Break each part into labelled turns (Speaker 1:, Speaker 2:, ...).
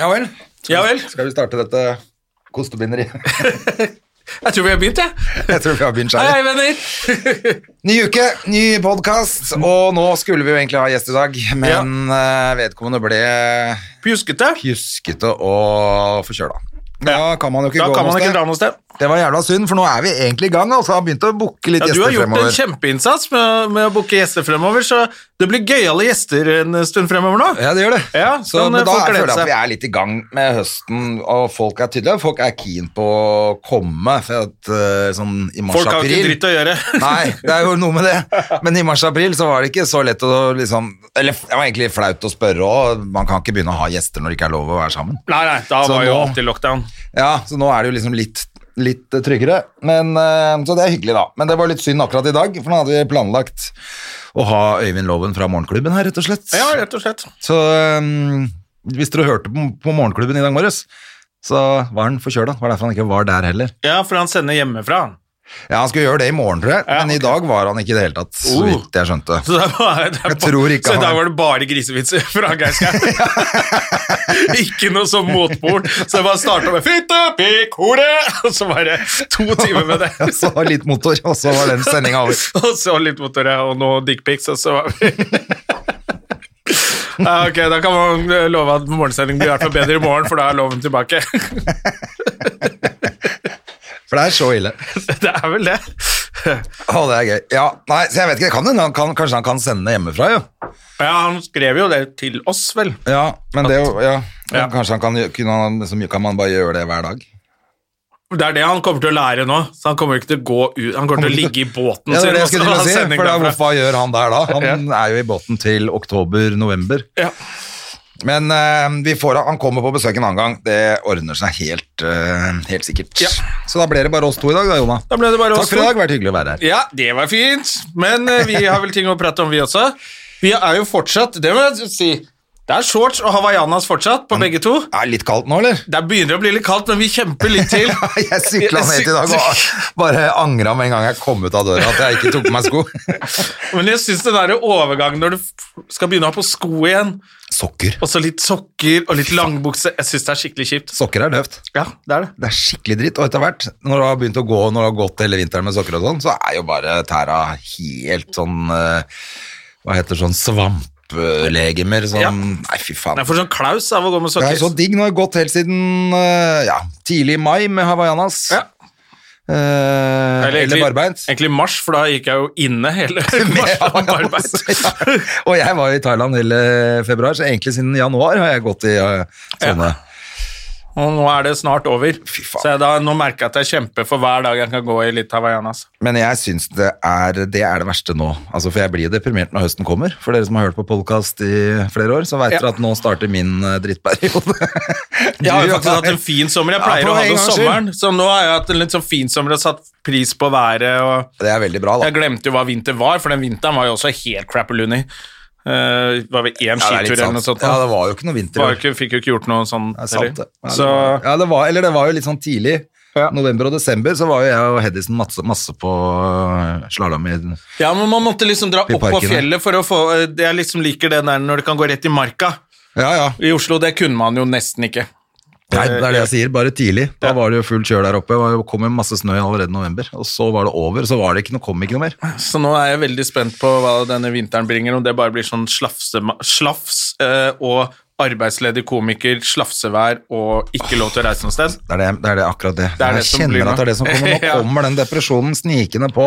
Speaker 1: Ja vel. Ja vel.
Speaker 2: Skal vi starte dette kostebinderiet?
Speaker 1: Jeg tror vi har begynt, jeg.
Speaker 2: Jeg tror vi har begynt
Speaker 1: Hei, hei,
Speaker 2: skjæret.
Speaker 1: venner.
Speaker 2: Ny uke, ny podkast, og nå skulle vi jo egentlig ha gjest i dag, men eh, vedkommende ble
Speaker 1: Pjuskete.
Speaker 2: pjuskete og forkjøla. Da kan man jo ikke
Speaker 1: Da
Speaker 2: gå
Speaker 1: kan man
Speaker 2: noe
Speaker 1: ikke
Speaker 2: sted.
Speaker 1: dra noe sted.
Speaker 2: Det var jævla synd, for nå er vi egentlig i gang. altså Har begynt å booke litt
Speaker 1: Ja, du har
Speaker 2: gjester
Speaker 1: gjort en
Speaker 2: fremover.
Speaker 1: kjempeinnsats med, med å booke gjester fremover, så det blir gøyale gjester en stund fremover nå.
Speaker 2: Ja, det gjør det.
Speaker 1: Ja,
Speaker 2: så,
Speaker 1: kan,
Speaker 2: men
Speaker 1: eh,
Speaker 2: da
Speaker 1: folk
Speaker 2: er-
Speaker 1: glede
Speaker 2: føler jeg
Speaker 1: seg.
Speaker 2: at vi er litt i gang med høsten, og folk er tydelige. Folk er keen på å komme, for at eh, sånn i
Speaker 1: Folk har ikke
Speaker 2: mars-april
Speaker 1: dritt å gjøre.
Speaker 2: Nei, det er jo noe med det. Men i mars-april så var det ikke så lett å liksom Eller det var egentlig flaut å spørre òg. Man kan ikke begynne å ha gjester når det ikke er lov å være sammen.
Speaker 1: Nei, nei, da
Speaker 2: Så
Speaker 1: var jo
Speaker 2: nå-
Speaker 1: alltid lockdown.
Speaker 2: Ja, Så nå er det jo liksom litt, litt tryggere. Men, eh, så det er hyggelig, da. Men det var litt synd akkurat i dag, for nå hadde vi planlagt å ha Øyvind Loven fra Morgenklubben her, rett og slett.
Speaker 1: Ja, rett og slett.
Speaker 2: Så øhm, hvis dere hørte på, på Morgenklubben i dag morges, så var han forkjøla. Det var derfor han ikke var der heller.
Speaker 1: Ja, for han sender hjemmefra. han.
Speaker 2: Ja, Han skulle gjøre det i morgen, tror jeg,
Speaker 1: Ja,
Speaker 2: men i dag var han ikke i det hele tatt, så
Speaker 1: Oh.
Speaker 2: vidt jeg skjønte.
Speaker 1: Så da var, det
Speaker 2: Jeg tror ikke
Speaker 1: så
Speaker 2: han-
Speaker 1: da var det bare grisevitser fra Geir Skau. ikke noe sånn motpol. Så jeg bare starta med 'fitte, pikk, hore', og så bare to timer med det.
Speaker 2: Og så litt motor, og så var den sendinga over.
Speaker 1: Og så litt motor, ja, og nå dickpics, og så var vi Ja, ok, da kan man eh, love at morgensendingen blir i hvert fall bedre i morgen, for da er loven tilbake.
Speaker 2: For det er så ille.
Speaker 1: det er vel det.
Speaker 2: Å, det er gøy. Ja, nei, så jeg vet ikke, det kan hende han kan, kanskje han kan sende hjemmefra, jo.
Speaker 1: Ja, han skrev jo det til oss, vel.
Speaker 2: Ja, men det er jo ja.
Speaker 1: Ja.
Speaker 2: Kanskje han kan, gjø- kunne han, liksom, kan man bare gjøre det hver dag?
Speaker 1: Det er det han kommer til å lære nå. Så han kommer ikke til å gå ut Han kommer til å ligge i båten
Speaker 2: Ja, det er
Speaker 1: sin,
Speaker 2: det
Speaker 1: og
Speaker 2: jeg
Speaker 1: så
Speaker 2: skulle
Speaker 1: har
Speaker 2: til å
Speaker 1: han
Speaker 2: si,
Speaker 1: sending
Speaker 2: for da,
Speaker 1: derfra.
Speaker 2: hvorfor gjør han der da? Han er jo i båten til oktober-november.
Speaker 1: Ja.
Speaker 2: Men eh, vi får, han kommer på besøk en annen gang. Det ordner seg helt, eh, helt sikkert.
Speaker 1: Ja.
Speaker 2: Så da ble det bare oss to i dag, da, Jona.
Speaker 1: Da ble det bare
Speaker 2: Takk
Speaker 1: oss
Speaker 2: for i
Speaker 1: to.
Speaker 2: dag. Vært hyggelig å være her.
Speaker 1: Ja, det var fint. Men eh, vi har vel ting å prate om, vi også. Vi er jo fortsatt Det må jeg si. Det er shorts og hawaiianas
Speaker 2: Mm.
Speaker 1: fortsatt på begge to.
Speaker 2: Er det litt kaldt nå, eller?
Speaker 1: Det begynner å bli litt kaldt, men vi kjemper litt til.
Speaker 2: Jeg sykla ned i dag og bare angra med en gang jeg kom ut av døra at jeg ikke tok på meg sko.
Speaker 1: Men jeg syns den der overgangen når du f- skal begynne å ha på sko igjen,
Speaker 2: Sokker.
Speaker 1: og så litt sokker og litt langbukse Jeg syns det er skikkelig kjipt.
Speaker 2: Sokker er døvt.
Speaker 1: Ja, det er det.
Speaker 2: Det er skikkelig dritt. Og etter hvert, når du har begynt å gå når du har gått hele vinteren med sokker og sånn, så er jo bare tæra helt sånn eh, Hva heter sånn svamplegemer sånn
Speaker 1: Ja.
Speaker 2: Nei, fy faen.
Speaker 1: Jeg får sånn klaus av å gå med
Speaker 2: Det
Speaker 1: sokker.
Speaker 2: er så digg. Nå har jeg gått helt siden eh, ja, tidlig i mai med hawaiianas.
Speaker 1: Ja.
Speaker 2: Eh, eller, barbeint.
Speaker 1: Egentlig mars, for da gikk jeg jo inne hele mars og barbeint.
Speaker 2: Ja. Og jeg var i Thailand hele februar, så egentlig siden januar har jeg gått i eh, sånne.
Speaker 1: Og nå er det snart over.
Speaker 2: Fy faen.
Speaker 1: Så jeg da, nå merker jeg at jeg kjemper for hver dag jeg kan gå i litt altså. hawaiianas.
Speaker 2: Men jeg syns det er, det er det verste nå. Altså, for jeg blir deprimert når høsten kommer. For dere som har hørt på podkast i flere år, så veit
Speaker 1: Ja.
Speaker 2: dere at nå starter min eh, drittperiode.
Speaker 1: Jeg har
Speaker 2: Du
Speaker 1: jo faktisk hatt en fin sommer. Jeg
Speaker 2: Ja,
Speaker 1: pleier
Speaker 2: for
Speaker 1: å ha
Speaker 2: en
Speaker 1: det om
Speaker 2: gangs
Speaker 1: sommeren, så nå har jeg hatt en litt sånn fin sommer og satt pris på været. og...
Speaker 2: Det er veldig bra, da.
Speaker 1: Jeg glemte jo hva vinter var, for den vinteren var jo også helt crappeloony. Uh, var vel én
Speaker 2: Ja, det er
Speaker 1: skitur
Speaker 2: litt
Speaker 1: eller noe
Speaker 2: sant.
Speaker 1: sånt.
Speaker 2: Ja, det var jo ikke noe vinter. i
Speaker 1: Var
Speaker 2: år.
Speaker 1: jo ikke, fikk jo ikke gjort noe sånn
Speaker 2: Det er sant, det.
Speaker 1: heller.
Speaker 2: Ja, det
Speaker 1: Så
Speaker 2: var- ja, det var, eller det var jo litt sånn tidlig.
Speaker 1: Ja.
Speaker 2: November og desember så var jo jeg og Hedison masse, masse på eh, slalåm i
Speaker 1: Ja, men man måtte liksom
Speaker 2: I
Speaker 1: dra opp på
Speaker 2: parkene.
Speaker 1: fjellet for å få eh, Jeg liksom liker det der når det kan gå rett i marka.
Speaker 2: Ja, ja.
Speaker 1: I Oslo, det kunne man jo nesten ikke.
Speaker 2: Nei, det er det jeg sier. Bare tidlig. Da
Speaker 1: Eh, Ja.
Speaker 2: var det jo fullt kjør der oppe. Det var jo- kom jo masse snø allerede i november. Og så var det over, så var det ikke noe, kom ikke noe mer.
Speaker 1: Så nå er jeg veldig spent på hva denne vinteren bringer, om det bare blir sånn slafse, slafs eh, og arbeidsledig komiker, slafsevær og ikke lov til å reise noe sted.
Speaker 2: Det er, det, det er det akkurat det.
Speaker 1: Det er det
Speaker 2: jeg
Speaker 1: som
Speaker 2: kjenner
Speaker 1: blir nå.
Speaker 2: at det er det som kommer. Nå
Speaker 1: Ja.
Speaker 2: kommer den depresjonen snikende på.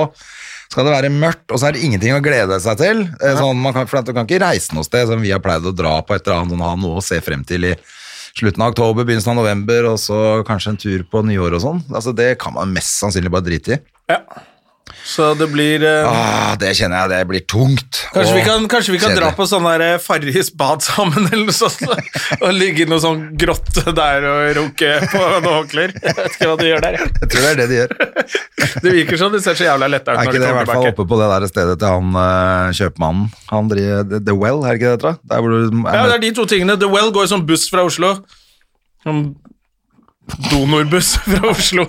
Speaker 2: Skal det være mørkt, og så er det ingenting å glede seg til. Eh, Sånn, man kan, for at du kan ikke reise noe sted som vi har pleid å dra på et eller annet, og ha noe å se frem til i slutten av oktober, begynnelsen av november, og så kanskje en tur på nyår og sånn. Altså, det kan man mest sannsynlig bare drite i.
Speaker 1: Ja. Så det blir eh,
Speaker 2: Ah, det kjenner jeg, det blir tungt.
Speaker 1: Kanskje
Speaker 2: og
Speaker 1: vi kan, kanskje vi kan dra
Speaker 2: kjedelig.
Speaker 1: på sånn der eh, Farris bad sammen, eller noe sånt. Og ligge i noe sånn grotte der og runke på noen håndklær. Jeg vet ikke hva du gjør der. jeg.
Speaker 2: Jeg tror det er det de gjør.
Speaker 1: Det virker sånn, det ser så jævla lett ut
Speaker 2: Er
Speaker 1: når
Speaker 2: ikke
Speaker 1: du
Speaker 2: det i
Speaker 1: kommer
Speaker 2: hvert fall
Speaker 1: tilbake.
Speaker 2: oppe på det der stedet til han eh, kjøpmannen? Han driver The- The Well, er det ikke det det heter? da? Der hvor du
Speaker 1: Ja, det
Speaker 2: er
Speaker 1: er de to tingene. The Well går som buss fra Oslo. Som donorbuss fra Oslo.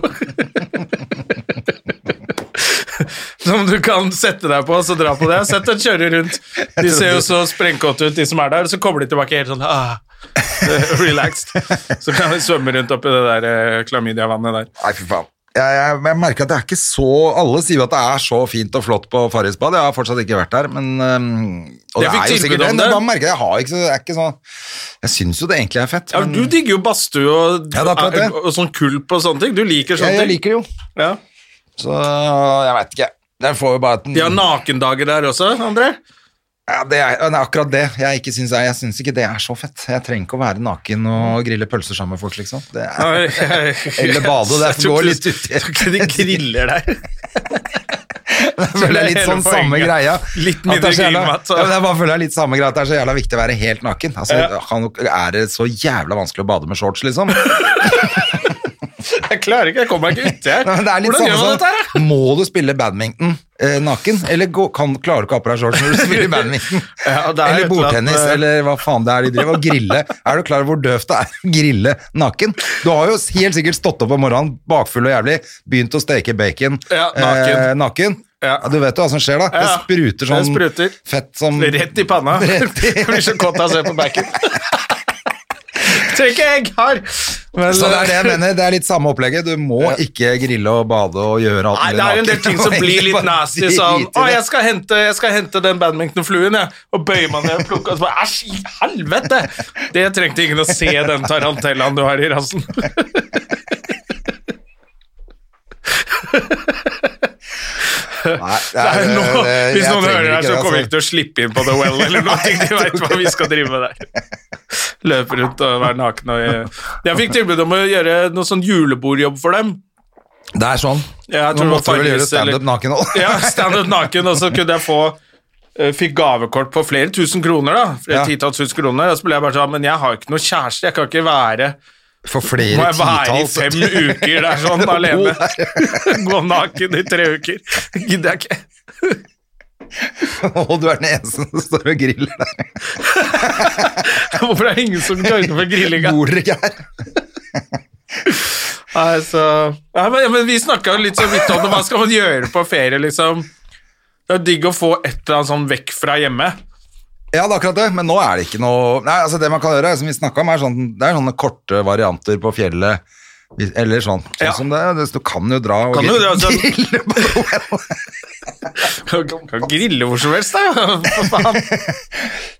Speaker 1: Som du kan sette deg på og så dra på det. Jeg har sett dem kjøre rundt. De ser jo så sprengkåte ut, de som er der. Så kommer de tilbake helt sånn ah, relaxed. Så kan de svømme rundt oppi det der eh, klamydiavannet der.
Speaker 2: Nei, fy faen. Jeg, jeg, jeg merker at det er ikke så Alle sier jo at det er så fint og flott på Farrisbad. Jeg har fortsatt ikke vært der, men eh, Og det
Speaker 1: Jeg fikk
Speaker 2: er jo
Speaker 1: tilbud
Speaker 2: sikkert det,
Speaker 1: om
Speaker 2: men
Speaker 1: det.
Speaker 2: da merker jeg jeg har ikke så Det er ikke sånn Jeg syns jo det egentlig er fett.
Speaker 1: Ja,
Speaker 2: men-
Speaker 1: du digger jo badstue og,
Speaker 2: Ja, det er akkurat det.
Speaker 1: og sånn kulp og sånne ting. Du liker
Speaker 2: jeg,
Speaker 1: sånne
Speaker 2: jeg liker det jo.
Speaker 1: ting. Ja.
Speaker 2: Så jeg veit ikke. Den får jo bare
Speaker 1: De har nakendager der også, André.
Speaker 2: Ja, det er, det er akkurat det. Jeg, ikke syns, jeg, jeg syns ikke det er så fett. Jeg trenger ikke å være naken og grille pølser sammen med folk, liksom. Det er, Eller bade, det
Speaker 1: Jeg tror
Speaker 2: går
Speaker 1: ikke-
Speaker 2: litt ut i-
Speaker 1: Jeg tror ikke de griller der.
Speaker 2: det er litt
Speaker 1: hele
Speaker 2: sånn samme
Speaker 1: poenget.
Speaker 2: greia.
Speaker 1: Litt
Speaker 2: At det er så
Speaker 1: mindre
Speaker 2: jævla-
Speaker 1: grillmat, så-
Speaker 2: Ja, men jeg bare føler det er litt samme greia at det er så jævla viktig å være helt naken. Altså, han, er det så jævla vanskelig å bade med shorts, liksom?
Speaker 1: Jeg klarer ikke, jeg kommer meg ikke uti her.
Speaker 2: Nei, men det er litt
Speaker 1: Hvordan gjør man
Speaker 2: samme
Speaker 1: dette her? da?
Speaker 2: som Må du spille badminton eh, naken? Eller gå, kan, klarer du ikke å ha på deg shorts når du spiller badminton?
Speaker 1: Ja, det er et
Speaker 2: eller
Speaker 1: eller annet,
Speaker 2: bordtennis,
Speaker 1: eh,
Speaker 2: eller hva faen det er de driver og grille. Er du klar over hvor døvt det er å grille naken? Du har jo helt sikkert stått opp om morgenen, bakfull og jævlig, begynt å steke bacon
Speaker 1: Ja, naken.
Speaker 2: Eh, naken.
Speaker 1: Ja.
Speaker 2: Du vet jo hva som skjer da. Det
Speaker 1: Ja,
Speaker 2: spruter sånn
Speaker 1: det spruter.
Speaker 2: fett som
Speaker 1: Rett i panna.
Speaker 2: Rett i-
Speaker 1: Jeg Blir så kåt av å se på bacon. Tror ikke jeg har Men, eh,
Speaker 2: Så det er det jeg mener. Det er litt samme opplegget. Du må ikke grille og bade og gjøre alt
Speaker 1: Nei,
Speaker 2: mulig
Speaker 1: det er en del
Speaker 2: naken.
Speaker 1: ting
Speaker 2: Du
Speaker 1: som
Speaker 2: må
Speaker 1: blir
Speaker 2: egentlig
Speaker 1: litt
Speaker 2: bare
Speaker 1: nasty.
Speaker 2: drite i
Speaker 1: Sånn, å,
Speaker 2: det.
Speaker 1: jeg skal hente, jeg skal hente den badminton-fluen, jeg. Og bøyer meg ned og plukker, og så bare Æsj, i helvete! Det trengte ingen å se, den tarantellaen du har i rassen.
Speaker 2: Nei, det
Speaker 1: Det er
Speaker 2: er- eh,
Speaker 1: nå,
Speaker 2: det-
Speaker 1: hvis
Speaker 2: jeg
Speaker 1: noen
Speaker 2: trenger
Speaker 1: hører
Speaker 2: ikke
Speaker 1: det, her, så
Speaker 2: det,
Speaker 1: kommer vi
Speaker 2: altså.
Speaker 1: ikke til å slippe inn på The Well eller noe. De vet hva vi skal drive med der. Løpe rundt og være naken og Jeg fikk tilbud om å gjøre noe sånn julebordjobb for dem.
Speaker 2: Det er sånn.
Speaker 1: Ja, jeg
Speaker 2: Nå
Speaker 1: tror det var
Speaker 2: måtte du vel gjøre
Speaker 1: Farris,
Speaker 2: standup
Speaker 1: eller-
Speaker 2: naken òg.
Speaker 1: Ja, standup naken, og så kunne jeg få eh, Fikk gavekort på flere tusen kroner, da. Flere
Speaker 2: Ja.
Speaker 1: titalls tusen kroner. Og så ble jeg bare sånn Men jeg har jo ikke noe kjæreste, jeg kan ikke være
Speaker 2: For flere
Speaker 1: Må jeg være i
Speaker 2: titalls.
Speaker 1: fem uker der sånn alene? Gå naken i tre uker. Gidder jeg ikke.
Speaker 2: Og du er den eneste som står og griller der.
Speaker 1: Hvorfor er det ingen som joiner for grillinga?
Speaker 2: Bor dere ikke her?
Speaker 1: Nei, så- ja, men, men vi snakka jo litt så vidt om det. Hva skal man gjøre på ferie, liksom? Det er digg å få et eller annet sånn vekk fra hjemme.
Speaker 2: Ja, det er akkurat det, men nå er det ikke noe Nei, altså Det man kan gjøre, som vi snakka om, er sånn, det er sånne korte varianter på fjellet. Hvis- Eller sånn. sånn
Speaker 1: Ja.
Speaker 2: som det, er. Du kan jo dra og
Speaker 1: Kan jo
Speaker 2: grille,
Speaker 1: dra, sånn.
Speaker 2: grille på Noel.
Speaker 1: Kan, kan grille hvor som helst, da. For faen.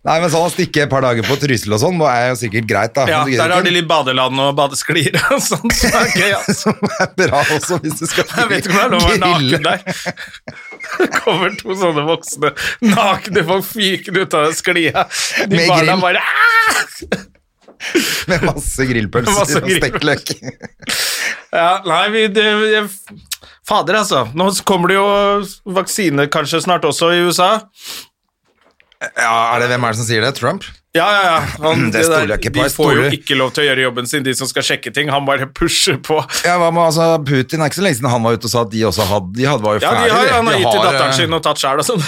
Speaker 2: Nei, men sånn å stikke et par dager på Trysil og sånn, det er jo sikkert greit, da.
Speaker 1: Ja,
Speaker 2: Men du gidder
Speaker 1: der har de
Speaker 2: ikke.
Speaker 1: litt badeland og badesklier og sånn. Så det er gøy, ass.
Speaker 2: Som er bra også, hvis du skal
Speaker 1: Jeg vet ikke om det er lov å være
Speaker 2: grille.
Speaker 1: naken der. Det kommer to sånne voksne nakne folk fykende ut av den sklia. De
Speaker 2: Med
Speaker 1: barna
Speaker 2: grill.
Speaker 1: bare «Ah!»
Speaker 2: Med masse grillpølser
Speaker 1: Masse
Speaker 2: og stekt løk.
Speaker 1: ja, Nei, vi det, jeg, Fader, altså. Nå kommer det jo vaksine kanskje snart også i USA.
Speaker 2: Ja, er det, hvem er det som sier det? Trump?
Speaker 1: Ja, ja, ja. Han,
Speaker 2: Mm, Det
Speaker 1: det
Speaker 2: stoler
Speaker 1: der,
Speaker 2: jeg ikke på.
Speaker 1: de
Speaker 2: Jeg
Speaker 1: får jo
Speaker 2: stoler-
Speaker 1: ikke lov til å gjøre jobben sin, de som skal sjekke ting. Han bare pusher på.
Speaker 2: Ja, hva med altså, Putin? Det er ikke så lenge siden han var ute og sa at de også hadde De hadde, var jo
Speaker 1: Ja, de
Speaker 2: ferdig,
Speaker 1: har, han har gitt til
Speaker 2: eh,
Speaker 1: datteren sin og tatt sjæl og sånn.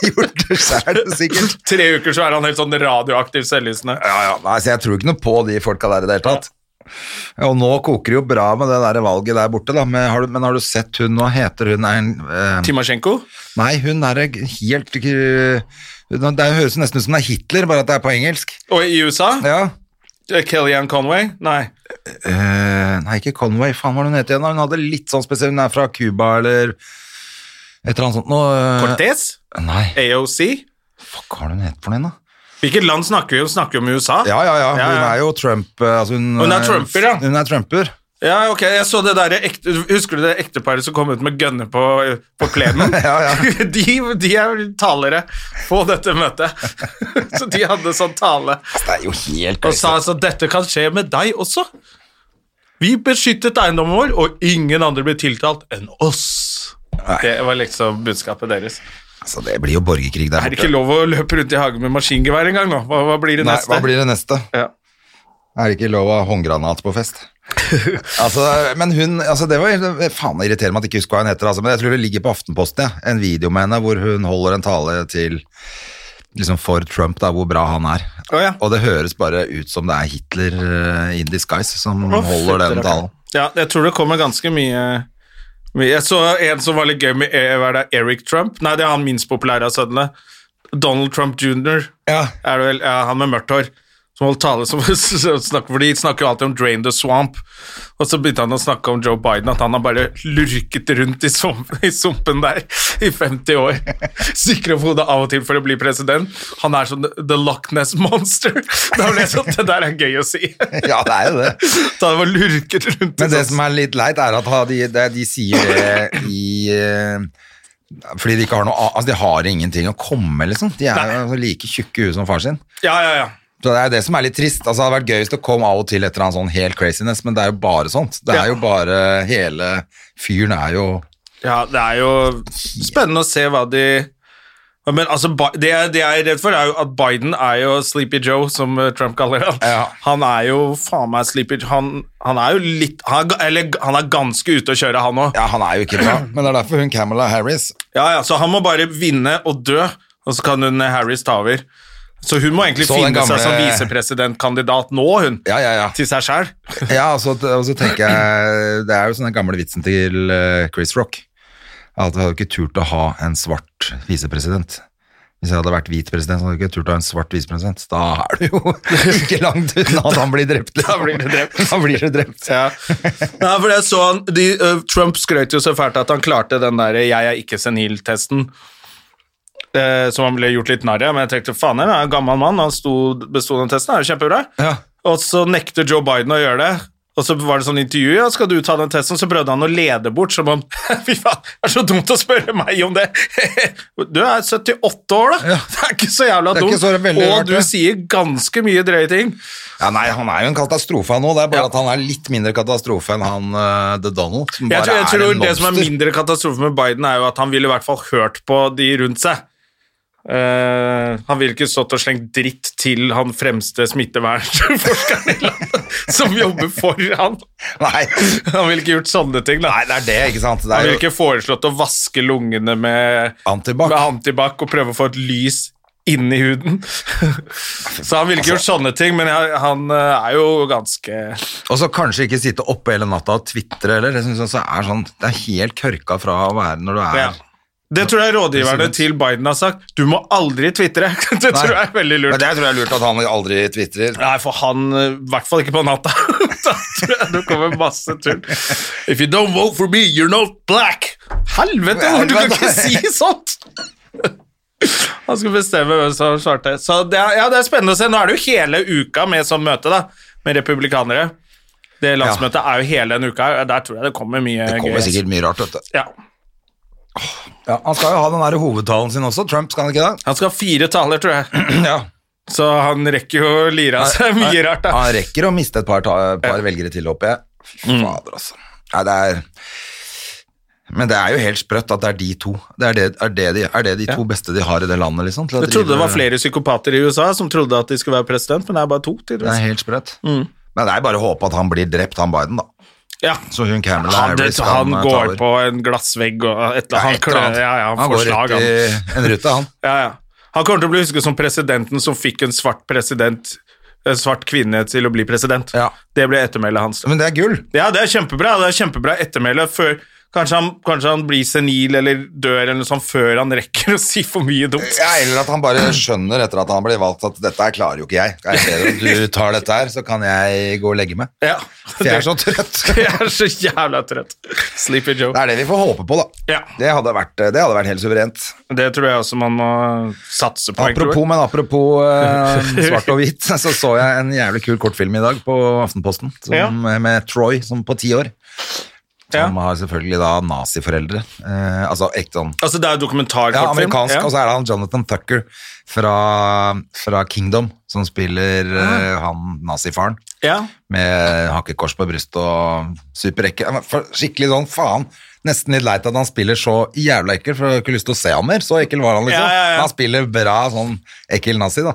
Speaker 2: Gjort det sjæl, sikkert.
Speaker 1: Tre uker så er han helt sånn radioaktiv selvlysende.
Speaker 2: Ja, ja. Nei, så jeg tror ikke noe på de folka der i det hele tatt. Og nå koker det jo bra med det der valget der borte, da. Men har du, men har du sett hun Hva heter hun? Er, hun, eh,
Speaker 1: Timosjenko?
Speaker 2: nei, hun er helt eh, hun- Det høres nesten ut som det er Hitler, bare at det er på engelsk.
Speaker 1: Og i USA?
Speaker 2: Ja.
Speaker 1: Kellyanne Conway? Nei.
Speaker 2: Eh, nei, ikke Conway. Faen, hva var det hun het igjen? da? Hun hadde litt sånn spesiell Hun er fra Cuba eller et eller annet sånt noe. eh,
Speaker 1: Cortez?
Speaker 2: Nei,
Speaker 1: AOC?
Speaker 2: hva har hun hett for noe, da?
Speaker 1: Hvilket land snakker vi om? Snakker vi om USA?
Speaker 2: Ja, ja, ja.
Speaker 1: Ja,
Speaker 2: Hun
Speaker 1: ja.
Speaker 2: er jo Trump eh, altså hun,
Speaker 1: Hun er Trumper, ja.
Speaker 2: Hun er Trumper.
Speaker 1: Ja, ok, jeg så det der ekte, Husker du det ekteparet som kom ut med gønner på, på plenen?
Speaker 2: Ja, ja.
Speaker 1: De, de er talere på dette møtet. Så de hadde sånn tale
Speaker 2: Det er jo helt
Speaker 1: og sa altså dette kan skje med deg også. Vi beskyttet eiendommen vår, og ingen andre ble tiltalt enn oss. Det var liksom budskapet deres.
Speaker 2: Så Altså, det blir jo borgerkrig der
Speaker 1: Er det ikke lov å løpe rundt i hagen med maskingevær engang nå? Hva, hva blir det
Speaker 2: Nei,
Speaker 1: neste?
Speaker 2: hva blir det neste?
Speaker 1: Ja.
Speaker 2: Er det ikke lov å ha håndgranat på fest? altså, men hun, altså det var det- faen det irriterer meg at jeg ikke husker hva hun heter, altså, men jeg tror det ligger på Aftenposten, ja. en video med henne hvor hun holder en tale til liksom for Trump, da, hvor bra han er.
Speaker 1: Å, ja.
Speaker 2: Og det høres bare ut som det er Hitler eh, in disguise som
Speaker 1: Å,
Speaker 2: holder
Speaker 1: fytti
Speaker 2: den
Speaker 1: rakker.
Speaker 2: talen.
Speaker 1: Ja, jeg tror det kommer ganske mye, mye. Jeg så en som var litt gøy med eh, hva er det, Eric Trump. Nei, det er han minst populære av sønnene. Donald Trump jr.
Speaker 2: Ja.
Speaker 1: er det vel, ja, han med mørkt hår. Som holdt tale som snakker, For de snakker jo alltid om 'drain the swamp', og så begynte han å snakke om Joe Biden, at han har bare lurket rundt i, svamp, i sumpen der i 50 år. Sikre opp hodet av og til for å bli president. Han er som The Loch Ness Monster. Da ble jeg sånn, Det der er gøy å si.
Speaker 2: ja, det er jo det.
Speaker 1: Da han var lurket rundt i
Speaker 2: Men det
Speaker 1: sånn-
Speaker 2: som er litt leit, er at ha- de, de, de sier det i eh, Fordi de ikke har noe a- Altså, de har ingenting å komme med, liksom. De er jo like tjukke i huet som far sin.
Speaker 1: Ja, ja, ja.
Speaker 2: Så Det er jo det som er litt trist. Altså, det hadde vært gøy hvis det kom av og til et eller annet sånn helt craziness, men det er jo bare sånt. Det
Speaker 1: Ja.
Speaker 2: er jo bare Hele fyren er jo
Speaker 1: Ja, det er jo spennende å se hva de Ja, Men altså, Bi- det, jeg- det jeg er redd for, er jo at Biden er jo Sleepy Joe, som eh, Trump kaller han.
Speaker 2: Ja.
Speaker 1: Han er jo faen meg Sleepy Joe. Han, han er jo litt han er, ga- Eller han er ganske ute å kjøre, han òg.
Speaker 2: Ja, han er jo ikke bra, men det er derfor hun Camilla Harris
Speaker 1: Ja, ja, så han må bare vinne og dø, og så kan hun eh, Harris ta over. Så hun må egentlig
Speaker 2: Så den
Speaker 1: finne
Speaker 2: gamle-
Speaker 1: seg som visepresidentkandidat nå, hun.
Speaker 2: Ja, ja, ja.
Speaker 1: Til seg sjæl.
Speaker 2: Ja, og så, og så tenker jeg Det er jo sånn den gamle vitsen til eh, Chris Rock. At jeg hadde ikke turt å ha en svart visepresident. Hvis jeg hadde vært hvit president, så hadde jeg ikke turt å ha en svart visepresident. Da er det jo ikke langt unna at han blir drept. liksom.
Speaker 1: Da blir du drept.
Speaker 2: Da blir du drept.
Speaker 1: Ja. Nei, for jeg så han de, ø, Trump skrøt jo så fælt at han klarte den der 'jeg er ikke senil'-testen. Eh, som han ble gjort litt narr av, men jeg tenkte faen, han er en gammel mann. Han sto, besto den testen, det er jo kjempebra.
Speaker 2: Ja.
Speaker 1: Og så nekter Joe Biden å gjøre det. Og så var det sånn intervju, ja, skal du ta den testen? Så prøvde han å lede bort som om Fy faen, det er så dumt å spørre meg om det! Du er 78 år, da! Det er ikke så jævla
Speaker 2: Det er
Speaker 1: dumt.
Speaker 2: ikke så veldig rart,
Speaker 1: og du
Speaker 2: det.
Speaker 1: sier ganske mye drøye ting.
Speaker 2: ja, Nei, han er jo en katastrofe nå. Det er bare
Speaker 1: Ja.
Speaker 2: at han er litt mindre katastrofe enn han eh, The Donald. Som
Speaker 1: Jeg
Speaker 2: bare
Speaker 1: tror, jeg
Speaker 2: er
Speaker 1: tror
Speaker 2: en
Speaker 1: det som er
Speaker 2: monster.
Speaker 1: mindre katastrofe med Biden, er jo at han ville i hvert fall hørt på de rundt seg. Eh, han ville ikke stått og slengt dritt til han fremste smittevernforskeren i landet, som jobber for han.
Speaker 2: Nei.
Speaker 1: Han ville ikke gjort sånne ting. Da.
Speaker 2: nei, det er det, ikke sant. Det
Speaker 1: han
Speaker 2: er
Speaker 1: ville
Speaker 2: jo
Speaker 1: ikke foreslått å vaske lungene med,
Speaker 2: Antibac.
Speaker 1: med antibac og prøve å få et lys inn i huden. Så han ville
Speaker 2: Altså-
Speaker 1: ikke gjort sånne ting, men jeg- han eh, er jo ganske
Speaker 2: Og så kanskje ikke sitte oppe hele natta og tvitre heller. Jeg synes også er sånn, det er helt kørka fra å være når du er
Speaker 1: Ja. Det tror jeg rådgiverne til Biden har sagt. Du må aldri tvitre. Det tror jeg er veldig
Speaker 2: Men
Speaker 1: lurt.
Speaker 2: det tror jeg er lurt at han aldri tvitrer.
Speaker 1: Nei, for han eh, I hvert fall ikke på natta. da tror jeg det kommer masse tull. If you don't vote for me, you're not black! Helvete,
Speaker 2: Ja,
Speaker 1: du kan
Speaker 2: men-
Speaker 1: ikke si sånt! Han skulle bestemme hvem som svarte. Så det er, ja, det er spennende å se. Nå er det jo hele uka med sånn møte, da. Med republikanere. Det landsmøtet er jo hele den uka. Der tror jeg det kommer mye
Speaker 2: Det kommer
Speaker 1: gøy.
Speaker 2: sikkert mye rart, vet du.
Speaker 1: Ja.
Speaker 2: Ja, han skal jo ha den der hovedtalen sin også, Trump, skal han ikke det?
Speaker 1: Han skal ha fire taler, tror jeg.
Speaker 2: Ja.
Speaker 1: Så han rekker jo å lire av seg mye rart, da.
Speaker 2: Han rekker å miste et par, ta, par velgere til, håper jeg. Fy
Speaker 1: Mm.
Speaker 2: Fader, altså. Nei, det er... Men det er jo helt sprøtt at det er de to. Det er det, er det, de, er det de to beste de har i det landet, liksom. til å
Speaker 1: Jeg trodde det
Speaker 2: drive-
Speaker 1: var flere psykopater i USA som trodde at de skulle være president, men det er bare to,
Speaker 2: Det er
Speaker 1: tydeligvis.
Speaker 2: helt sprøtt.
Speaker 1: Mm.
Speaker 2: Men det er bare å håpe at han blir drept, han Biden, da.
Speaker 1: Ja.
Speaker 2: Så hun Camelot
Speaker 1: Han, det,
Speaker 2: Harris kan,
Speaker 1: han
Speaker 2: eh, ta
Speaker 1: går
Speaker 2: over.
Speaker 1: på en glassvegg og et eller
Speaker 2: Ja,
Speaker 1: annet.
Speaker 2: et eller annet.
Speaker 1: Ja, ja, han,
Speaker 2: han
Speaker 1: får
Speaker 2: går
Speaker 1: slag,
Speaker 2: rett
Speaker 1: han.
Speaker 2: i en rute, han.
Speaker 1: Ja, ja. Han kommer til å bli husket som presidenten som fikk en svart president, en svart kvinne til å bli president.
Speaker 2: Ja.
Speaker 1: Det ble ettermælet hans.
Speaker 2: Men det er gull.
Speaker 1: Ja, det er kjempebra. Det er kjempebra ettermæle før Kanskje han, kanskje han blir senil eller dør eller noe sånt før han rekker å si for mye dumt.
Speaker 2: Ja, eller at han bare skjønner etter at han blir valgt at dette her klarer jo ikke jeg. Det er bedre at du tar dette her, så kan jeg gå og legge meg.
Speaker 1: Ja.
Speaker 2: For jeg er så trøtt.
Speaker 1: Jeg er så jævla trøtt. Sleepy Joe.
Speaker 2: Det er det vi får håpe på, da.
Speaker 1: Ja.
Speaker 2: Det hadde vært, eh, det hadde vært helt suverent.
Speaker 1: Det tror jeg også man må satse på. egentlig.
Speaker 2: Apropos, men apropos eh, svart og hvit, så så jeg en jævlig kul kortfilm i dag på Aftenposten som,
Speaker 1: Ja.
Speaker 2: med Troy som på ti år. Som har selvfølgelig da naziforeldre. Eh, altså ekte sånn
Speaker 1: Altså, det er jo dokumentarkortfilm.
Speaker 2: ja, amerikansk, altså. og så er det han Jonathan Tucker fra, fra Kingdom, som spiller
Speaker 1: Ah.
Speaker 2: eh, han nazifaren
Speaker 1: Ja.
Speaker 2: med hakekors på brystet og superrekke. Ja, men for- Skikkelig sånn, faen, nesten litt leit at han spiller så jævla ekkel, for jeg har ikke lyst til å se han mer, så ekkel var han liksom.
Speaker 1: Ja, ja, ja.
Speaker 2: Men Han spiller bra sånn ekkel nazi da,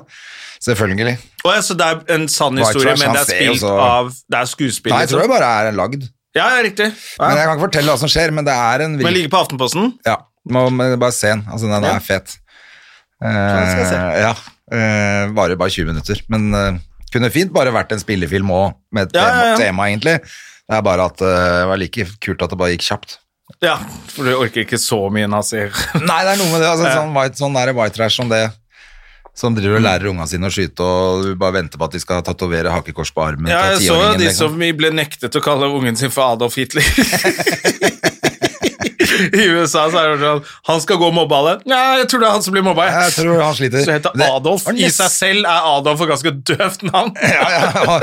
Speaker 2: selvfølgelig.
Speaker 1: Og ja, så det er en sann
Speaker 2: White
Speaker 1: historie,
Speaker 2: Trash,
Speaker 1: men
Speaker 2: han
Speaker 1: det
Speaker 2: ser
Speaker 1: er
Speaker 2: jo
Speaker 1: spilt
Speaker 2: så-
Speaker 1: av Det er skuespill.
Speaker 2: Nei, jeg tror
Speaker 1: liksom.
Speaker 2: det bare er lagd.
Speaker 1: Ja, ja, riktig. Ja.
Speaker 2: Men jeg kan ikke fortelle hva som skjer, men det er en...
Speaker 1: Men ligger på Aftenposten.
Speaker 2: Ja, må må bare se den. Altså, den er fet. Eh,
Speaker 1: skal jeg se.
Speaker 2: ja, eh, varer bare 20 minutter. Men eh, kunne fint bare vært en spillefilm òg, med et
Speaker 1: Ja,
Speaker 2: tema,
Speaker 1: ja, ja.
Speaker 2: tema, egentlig. Det er bare at eh, det var like kult at det bare gikk kjapt.
Speaker 1: Ja, for du orker ikke så mye nazier.
Speaker 2: Nei, det er noe med det. Altså, sånn white, sånn der white trash som det som driver og lærer unga sine å skyte, og du bare venter på at de skal tatovere hakekors på armen.
Speaker 1: Ja,
Speaker 2: til
Speaker 1: jeg så
Speaker 2: tiåringen,
Speaker 1: de
Speaker 2: liksom.
Speaker 1: som ble nektet å kalle ungen sin for Adolf Hitler. I USA så er det sånn Han skal gå og mobbe alle. Nei, jeg tror det er han som blir mobba. jeg.
Speaker 2: Jeg tror han sliter.
Speaker 1: Så heter
Speaker 2: Det-
Speaker 1: Adolf.
Speaker 2: Var
Speaker 1: I
Speaker 2: nesten-
Speaker 1: seg selv er Adolf et ganske døvt navn.
Speaker 2: Ja, ja, ja.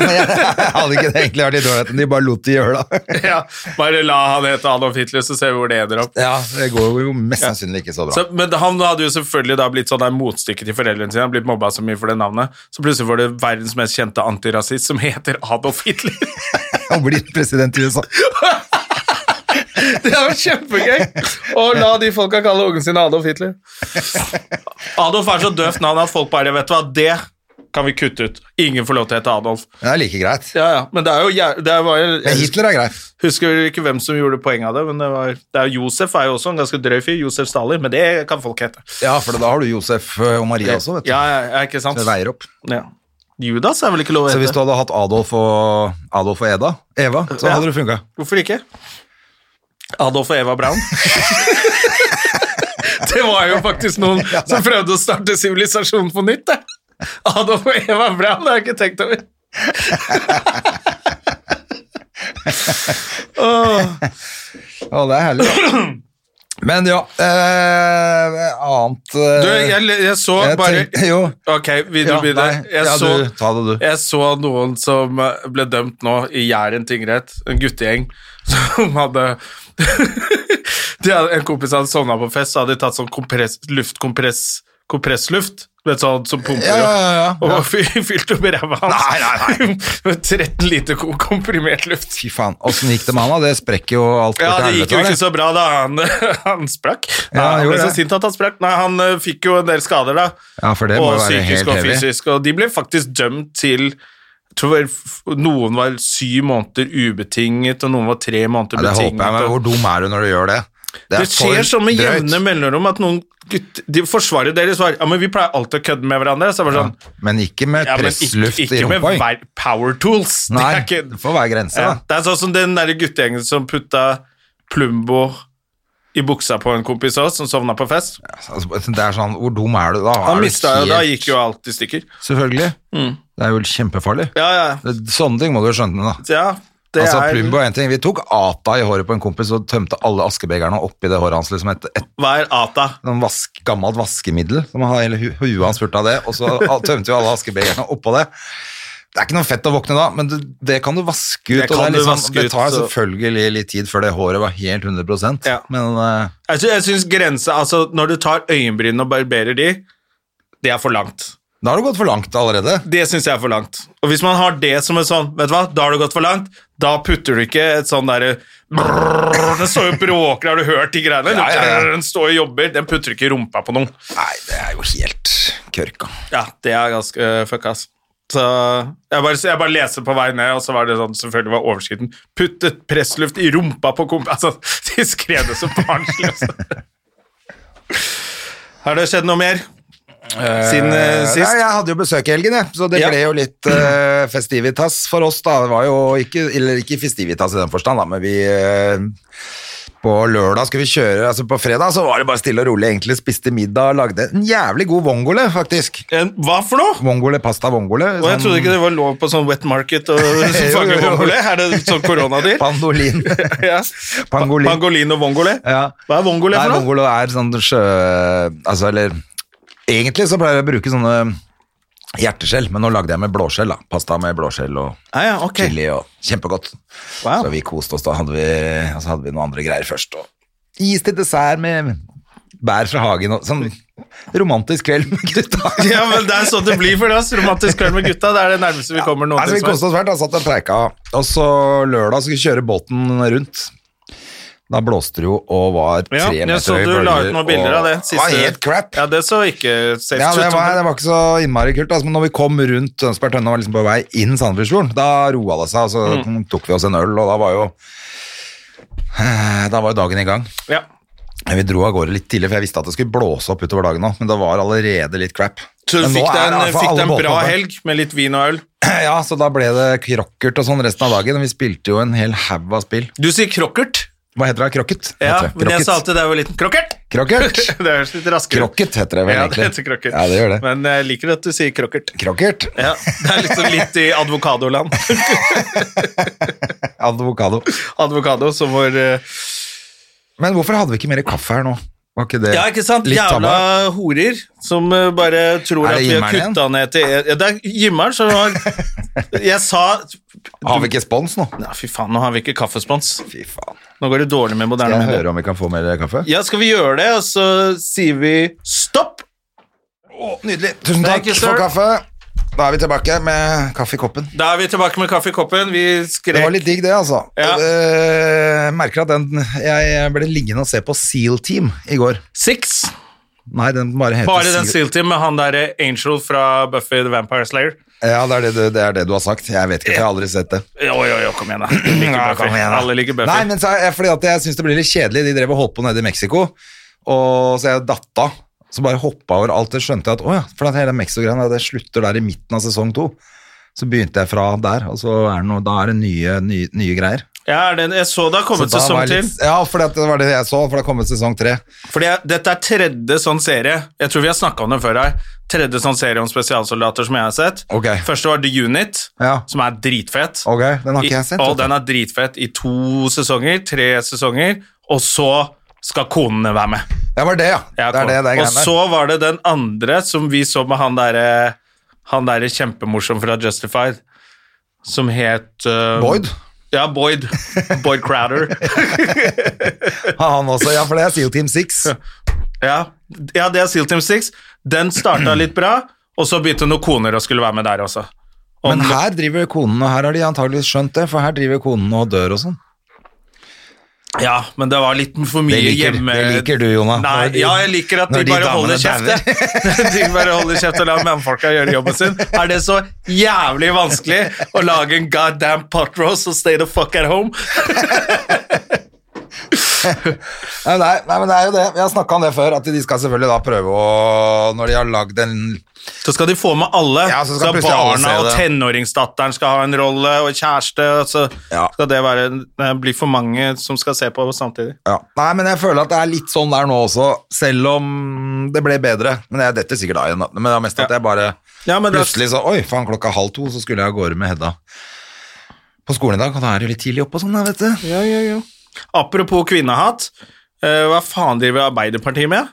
Speaker 2: Men jeg hadde ikke det egentlig vært i dårligheten, de bare lot de gjøre det.
Speaker 1: ja, bare la han hete Adolf Hitler, så ser vi hvor det ender opp.
Speaker 2: Ja, det går jo mest sannsynlig ikke så bra.
Speaker 1: Så, men han hadde jo selvfølgelig da blitt sånn der motstykke til foreldrene sine. Han blitt mobba så mye for det navnet. Så plutselig var det verdens mest kjente antirasist som heter Adolf Hitler.
Speaker 2: Han blir president i USA.
Speaker 1: Det er jo kjempegøy! Å la de folka kalle ungen sin Adolf Hitler. Adolf er så døvt navn at folk bare vet du hva, det kan vi kutte ut. Ingen får lov til å hete Adolf.
Speaker 2: Det er like greit.
Speaker 1: Ja, ja, men det er jo, jæ- det var jo
Speaker 2: Men Hitler er greit.
Speaker 1: Husker ikke hvem som gjorde poeng av det, men det var det er, Josef er jo også en ganske drøy fyr. Josef Stalin, men det kan folk hete.
Speaker 2: Ja, for da har du Josef eh, og Maria også, vet du.
Speaker 1: Ja, ja, ja, ikke sant?
Speaker 2: Det veier opp.
Speaker 1: Ja. Judas er vel ikke lov å
Speaker 2: Så hvis du
Speaker 1: hete?
Speaker 2: hadde hatt Adolf og, Adolf og Eda, Eva, så
Speaker 1: Ja.
Speaker 2: hadde det funka.
Speaker 1: Hvorfor ikke? Adolf og Eva Braun. det var jo faktisk noen som prøvde å starte sivilisasjonen på nytt, det. Adolf og Eva Braun, det har jeg ikke tenkt over. Åh.
Speaker 2: Å, det er herlig. Men ja eh, Annet eh,
Speaker 1: Du, jeg, jeg så
Speaker 2: jeg
Speaker 1: bare
Speaker 2: tenkte- Jo.
Speaker 1: Ok, vil du
Speaker 2: Ja,
Speaker 1: begynne?
Speaker 2: nei,
Speaker 1: Jeg
Speaker 2: ja,
Speaker 1: så,
Speaker 2: du, ta det, du.
Speaker 1: Jeg så noen som eh, ble dømt nå i Jæren tingrett, en guttegjeng, som hadde de hadde En kompis hadde sovna på fest, så hadde de tatt sånn kompress, luftkompress Kompressluft, du vet sånn som pumper
Speaker 2: Ja, ja, ja, ja.
Speaker 1: og og fy- fylt opp ræva hans
Speaker 2: Nei, nei,
Speaker 1: med 13 liter kom- komprimert luft.
Speaker 2: Fy faen, åssen gikk det med han, da? Det sprekker jo alt
Speaker 1: Ja,
Speaker 2: bort
Speaker 1: det
Speaker 2: til
Speaker 1: gikk jo
Speaker 2: helvete,
Speaker 1: ikke så bra da han, han sprakk. Nei,
Speaker 2: Ja, han
Speaker 1: han ble
Speaker 2: gjorde
Speaker 1: så
Speaker 2: det.
Speaker 1: sint at han sprakk. Nei, han eh, fikk jo en del skader, da.
Speaker 2: Ja, for det må
Speaker 1: og
Speaker 2: være helt
Speaker 1: psykisk og
Speaker 2: heavy.
Speaker 1: fysisk. Og de ble faktisk dømt til jeg tror vel f- noen var syv måneder ubetinget, og noen var tre måneder
Speaker 2: Ja, det håper jeg,
Speaker 1: betinget.
Speaker 2: men
Speaker 1: og-
Speaker 2: hvor dum er du når du gjør det?
Speaker 1: det,
Speaker 2: for
Speaker 1: skjer sånn med
Speaker 2: drøyt.
Speaker 1: jevne mellomrom at noen gutter de Forsvaret deres var Ja, men vi pleier alltid å kødde med hverandre. Så jeg var sånn
Speaker 2: Men ikke med
Speaker 1: ja, men ikke,
Speaker 2: pressluft
Speaker 1: ikke
Speaker 2: i
Speaker 1: med
Speaker 2: rumpa. ikke?
Speaker 1: ver- power tools. Det
Speaker 2: Nei,
Speaker 1: er ikke-
Speaker 2: det får være grenser,
Speaker 1: ja.
Speaker 2: da.
Speaker 1: Det er sånn som den der guttegjengen som putta Plumbo i buksa på en kompis av oss, som sovna på fest.
Speaker 2: Altså, det er sånn, hvor dum er du da? Er
Speaker 1: Han
Speaker 2: du
Speaker 1: mista jo, da Mm.
Speaker 2: helt-
Speaker 1: gikk jo alt i stykker.
Speaker 2: Selvfølgelig. Det er jo kjempefarlig.
Speaker 1: Ja, ja.
Speaker 2: Det- Sånne ting må du jo skjønne, da.
Speaker 1: ja det
Speaker 2: altså,
Speaker 1: er
Speaker 2: Plumbo er en ting. Vi tok Ata i håret på en kompis og tømte alle askebegerne oppi det håret hans. liksom et, et
Speaker 1: Hva er Ata?
Speaker 2: noen vask, gammelt vaskemiddel. Som han, eller hu, huet hans fulgte av det, og så al- tømte vi alle askebegerne oppå det. Det er ikke noe fett å våkne da, men du, det kan du vaske ut.
Speaker 1: Det
Speaker 2: og
Speaker 1: kan
Speaker 2: det, er
Speaker 1: du
Speaker 2: liksom,
Speaker 1: vaske
Speaker 2: det
Speaker 1: ut,
Speaker 2: tar
Speaker 1: så-
Speaker 2: selvfølgelig litt tid før det håret var helt 100
Speaker 1: Ja.
Speaker 2: men eh,
Speaker 1: Jeg sy- jeg syns grense Altså, når du tar øyenbrynene og barberer de, det er for langt.
Speaker 2: da har det gått for langt allerede.
Speaker 1: Det syns jeg er for langt. Og hvis man har det som en sånn Vet du hva, da har du gått for langt. Da putter du ikke et sånn derre brrrr, Den står jo og bråker, har du hørt de greiene?
Speaker 2: Ja, ja, ja.
Speaker 1: Den står og jobber, den putter du ikke i rumpa på noen.
Speaker 2: Nei, det er jo helt kørka.
Speaker 1: Ja, det er ganske uh, fucka, ass. Så jeg bare, jeg bare leser på vei ned, og så var det sånn, selvfølgelig var overskriften Puttet pressluft i rumpa på komp... Altså, de skrev det så barnslig. altså. Har det skjedd noe mer siden eh,
Speaker 2: Ja,
Speaker 1: sist?
Speaker 2: jeg hadde jo besøk i helgen, jeg, så det
Speaker 1: Ja.
Speaker 2: ble jo litt eh, festivitas for oss. da. Det var jo ikke, eller ikke festivitas i den forstand, da, men vi eh, På lørdag skulle vi kjøre, altså på fredag så var det bare stille og rolig, egentlig. Spiste middag, lagde en jævlig god vongole, faktisk.
Speaker 1: En, hva for noe?!
Speaker 2: Vongole, pasta vongole.
Speaker 1: Og jeg trodde ikke det var lov på sånn wet market og fange
Speaker 2: jo, jo.
Speaker 1: vongole. Er det sånn koronadyr?
Speaker 2: Pandolin.
Speaker 1: ja.
Speaker 2: Pangolin.
Speaker 1: Pangolin og vongole?
Speaker 2: Ja.
Speaker 1: Hva er vongole
Speaker 2: Nei,
Speaker 1: for noe?
Speaker 2: vongole er sånn sjø... Altså, eller Egentlig så pleier jeg å bruke sånne Hjerteskjell, men nå lagde jeg med blåskjell. da Pasta med blåskjell og
Speaker 1: Ah,
Speaker 3: Ja, ja, ok.
Speaker 2: chili. og Kjempegodt.
Speaker 3: Wow.
Speaker 2: Så vi koste oss, da hadde vi, og så hadde vi noen andre greier først. Og is til dessert med bær fra hagen. Og, sånn romantisk kveld med gutta.
Speaker 1: Ja, men det er sånn det blir for oss. Romantisk kveld med gutta. Det er det nærmeste vi kommer noen
Speaker 2: Nei, så Altså, vi koste oss hvert, da satt jeg og preika. Og så lørdag skulle vi kjøre båten rundt. Da blåste det jo og var tre
Speaker 1: Ja, jeg
Speaker 2: meter
Speaker 1: så
Speaker 2: høye
Speaker 1: du la ut
Speaker 2: bølger,
Speaker 1: noen bilder
Speaker 2: og
Speaker 1: av det
Speaker 2: Det var helt crap.
Speaker 1: Ja, det så ikke safe
Speaker 2: Ja, det
Speaker 1: ut.
Speaker 2: var, det var ikke så innmari kult. Altså, men når vi kom rundt Tønsberg Tønne og var liksom på vei inn Sandefjordsfjorden, da roa det seg, og så
Speaker 1: Mm.
Speaker 2: tok vi oss en øl, og da var jo eh, Da var jo dagen i gang.
Speaker 1: Ja.
Speaker 2: Men Vi dro av gårde litt tidlig, for jeg visste at det skulle blåse opp utover dagen òg, men det var allerede litt crap.
Speaker 1: Så du
Speaker 2: Men nå
Speaker 1: fikk
Speaker 2: er
Speaker 1: deg
Speaker 2: det i
Speaker 1: en,
Speaker 2: hvert fall
Speaker 1: fikk
Speaker 2: alle
Speaker 1: deg en bra
Speaker 2: båtene oppe.
Speaker 1: helg med litt vin og øl?
Speaker 2: Ja, så da ble det krokkert og sånn resten av dagen, og vi spilte jo en hel haug av spill.
Speaker 1: Du sier crockert.
Speaker 2: Hva heter det? Krokket?
Speaker 1: Ja,
Speaker 2: heter det.
Speaker 1: men jeg
Speaker 2: Krokket.
Speaker 1: sa alltid da jeg var liten. Crockert!
Speaker 2: Krokket?
Speaker 1: Det høres litt raskere ut.
Speaker 2: Krokket heter det vel
Speaker 1: Ja, det
Speaker 2: egentlig.
Speaker 1: heter crockert.
Speaker 2: Ja, det gjør det.
Speaker 1: Men jeg liker at du sier crockert.
Speaker 2: Krokket?
Speaker 1: Ja, Det er liksom litt i advokadoland.
Speaker 2: Advokado.
Speaker 1: Advokado som vår eh,
Speaker 2: Men hvorfor hadde vi ikke mer kaffe her nå? Var ikke det
Speaker 1: Ja, ikke sant?
Speaker 2: litt
Speaker 1: Jævla
Speaker 2: tabba?
Speaker 1: horer som eh, bare tror
Speaker 2: Er
Speaker 1: at
Speaker 2: det
Speaker 1: vi har
Speaker 2: Jimmeren igjen?
Speaker 1: kutta ned til ja, Det er Jimmeren som har Jeg sa
Speaker 2: Har vi ikke spons nå?
Speaker 1: Nei, Fy faen, nå har vi ikke kaffespons.
Speaker 2: Fy faen.
Speaker 1: Nå går det dårlig med
Speaker 2: Skal
Speaker 1: moderne
Speaker 2: jeg
Speaker 1: medier.
Speaker 2: høre om vi kan få mer kaffe?
Speaker 1: Ja, skal vi gjøre det, og så sier vi stopp?
Speaker 2: Nydelig. Tusen
Speaker 1: Thank
Speaker 2: takk
Speaker 1: you, sir.
Speaker 2: for kaffe. Da er vi tilbake med kaffe i koppen.
Speaker 1: Da er vi tilbake med kaffe i koppen. Vi
Speaker 2: Det var
Speaker 1: skrek
Speaker 2: litt digg, det, altså.
Speaker 1: Ja.
Speaker 2: Eh, merker at den Jeg ble liggende og se på Seal Team i går.
Speaker 1: six.
Speaker 2: Nei, den bare heter
Speaker 1: Bare den Seal-team med han derre Angel fra Buffy the Vampire Slayer.
Speaker 2: Ja, det er det, du- det er det du har sagt. Jeg vet ikke, for jeg har aldri sett det.
Speaker 1: Jo, jo, jo, kom igjen, da. Du liker
Speaker 2: Ja,
Speaker 1: Buffy.
Speaker 2: kom igjen, da.
Speaker 1: Alle liker Buffy.
Speaker 2: Nei, men så, er- fordi at jeg syns det blir litt kjedelig. De drev og holdt på nede i Mexico, og så jeg datta. Så bare hoppa over alt. Det skjønte jeg at å ja, for at hele Mexico-greia det slutter der i midten av sesong to. Så begynte jeg fra der, og så er det noe, da er det nye, nye, nye greier.
Speaker 1: Ja, er det, jeg så det har
Speaker 2: Så
Speaker 1: kommet
Speaker 2: da
Speaker 1: sesong
Speaker 2: var jeg
Speaker 1: til.
Speaker 2: litt- Ja, for det var det jeg så, for det har kommet sesong tre.
Speaker 1: Fordi jeg, dette er tredje sånn serie. Jeg tror vi har snakka om det før her. Tredje sånn serie om spesialsoldater som jeg har sett.
Speaker 2: Ok.
Speaker 1: Første var The Unit,
Speaker 2: Ja.
Speaker 1: som er dritfett.
Speaker 2: Ok, den har ikke jeg sett.
Speaker 1: I, og
Speaker 2: vet du.
Speaker 1: den er dritfett i to sesonger, tre sesonger, og så skal konene være med.
Speaker 2: Ja, var det, ja.
Speaker 1: Jeg
Speaker 2: det er
Speaker 1: kom.
Speaker 2: det, det er
Speaker 1: og
Speaker 2: greiene
Speaker 1: så var det den andre som vi så med han derre han der kjempemorsom fra Justified, som het uh,
Speaker 2: Boyd?
Speaker 1: Ja, Boyd. Boyd Crowder.
Speaker 2: Ja, han også. Ja, for det er Seal Team 6.
Speaker 1: Ja, ja det er Seal Team 6. Den starta litt bra, og så begynte noen koner å skulle være med der også. Og
Speaker 2: Men
Speaker 1: nå-
Speaker 2: her driver konene, her har de antageligvis skjønt det, for her driver konene og dør og sånn.
Speaker 1: ja, men det var litt for mye
Speaker 2: Det liker-
Speaker 1: hjemme...
Speaker 2: det liker du, Jonah.
Speaker 1: Nei,
Speaker 2: Når de-
Speaker 1: ja, jeg liker at de,
Speaker 2: når de
Speaker 1: bare
Speaker 2: damene
Speaker 1: holder kjeft. jeg. de bare holder kjeft og lar mannfolka gjøre jobben sin. Er det så jævlig vanskelig å lage en goddamn pot roast og stay the fuck at home?
Speaker 2: Nei, nei, nei, men det er jo det. Vi har snakka om det før, at de skal selvfølgelig da prøve å Når de har lagd en
Speaker 1: Så skal de få med alle.
Speaker 2: Ja, så skal plutselig alle
Speaker 1: barna
Speaker 2: se
Speaker 1: og
Speaker 2: det.
Speaker 1: tenåringsdatteren skal ha en rolle, og kjæreste, og så
Speaker 2: Ja.
Speaker 1: skal det være, det blir for mange som skal se på samtidig.
Speaker 2: ja. Nei, men jeg føler at det er litt sånn der nå også, selv om det ble bedre. Men jeg detter sikkert av igjen, da. Men det er mest at jeg bare
Speaker 1: Ja, men det er-
Speaker 2: plutselig så Oi, faen, klokka halv to, så skulle jeg av gårde med Hedda på skolen i dag, og da er det jo litt tidlig oppe og sånn, da, vet du.
Speaker 1: Ja, ja, ja. Apropos kvinnehatt, eh, hva faen driver Arbeiderpartiet med?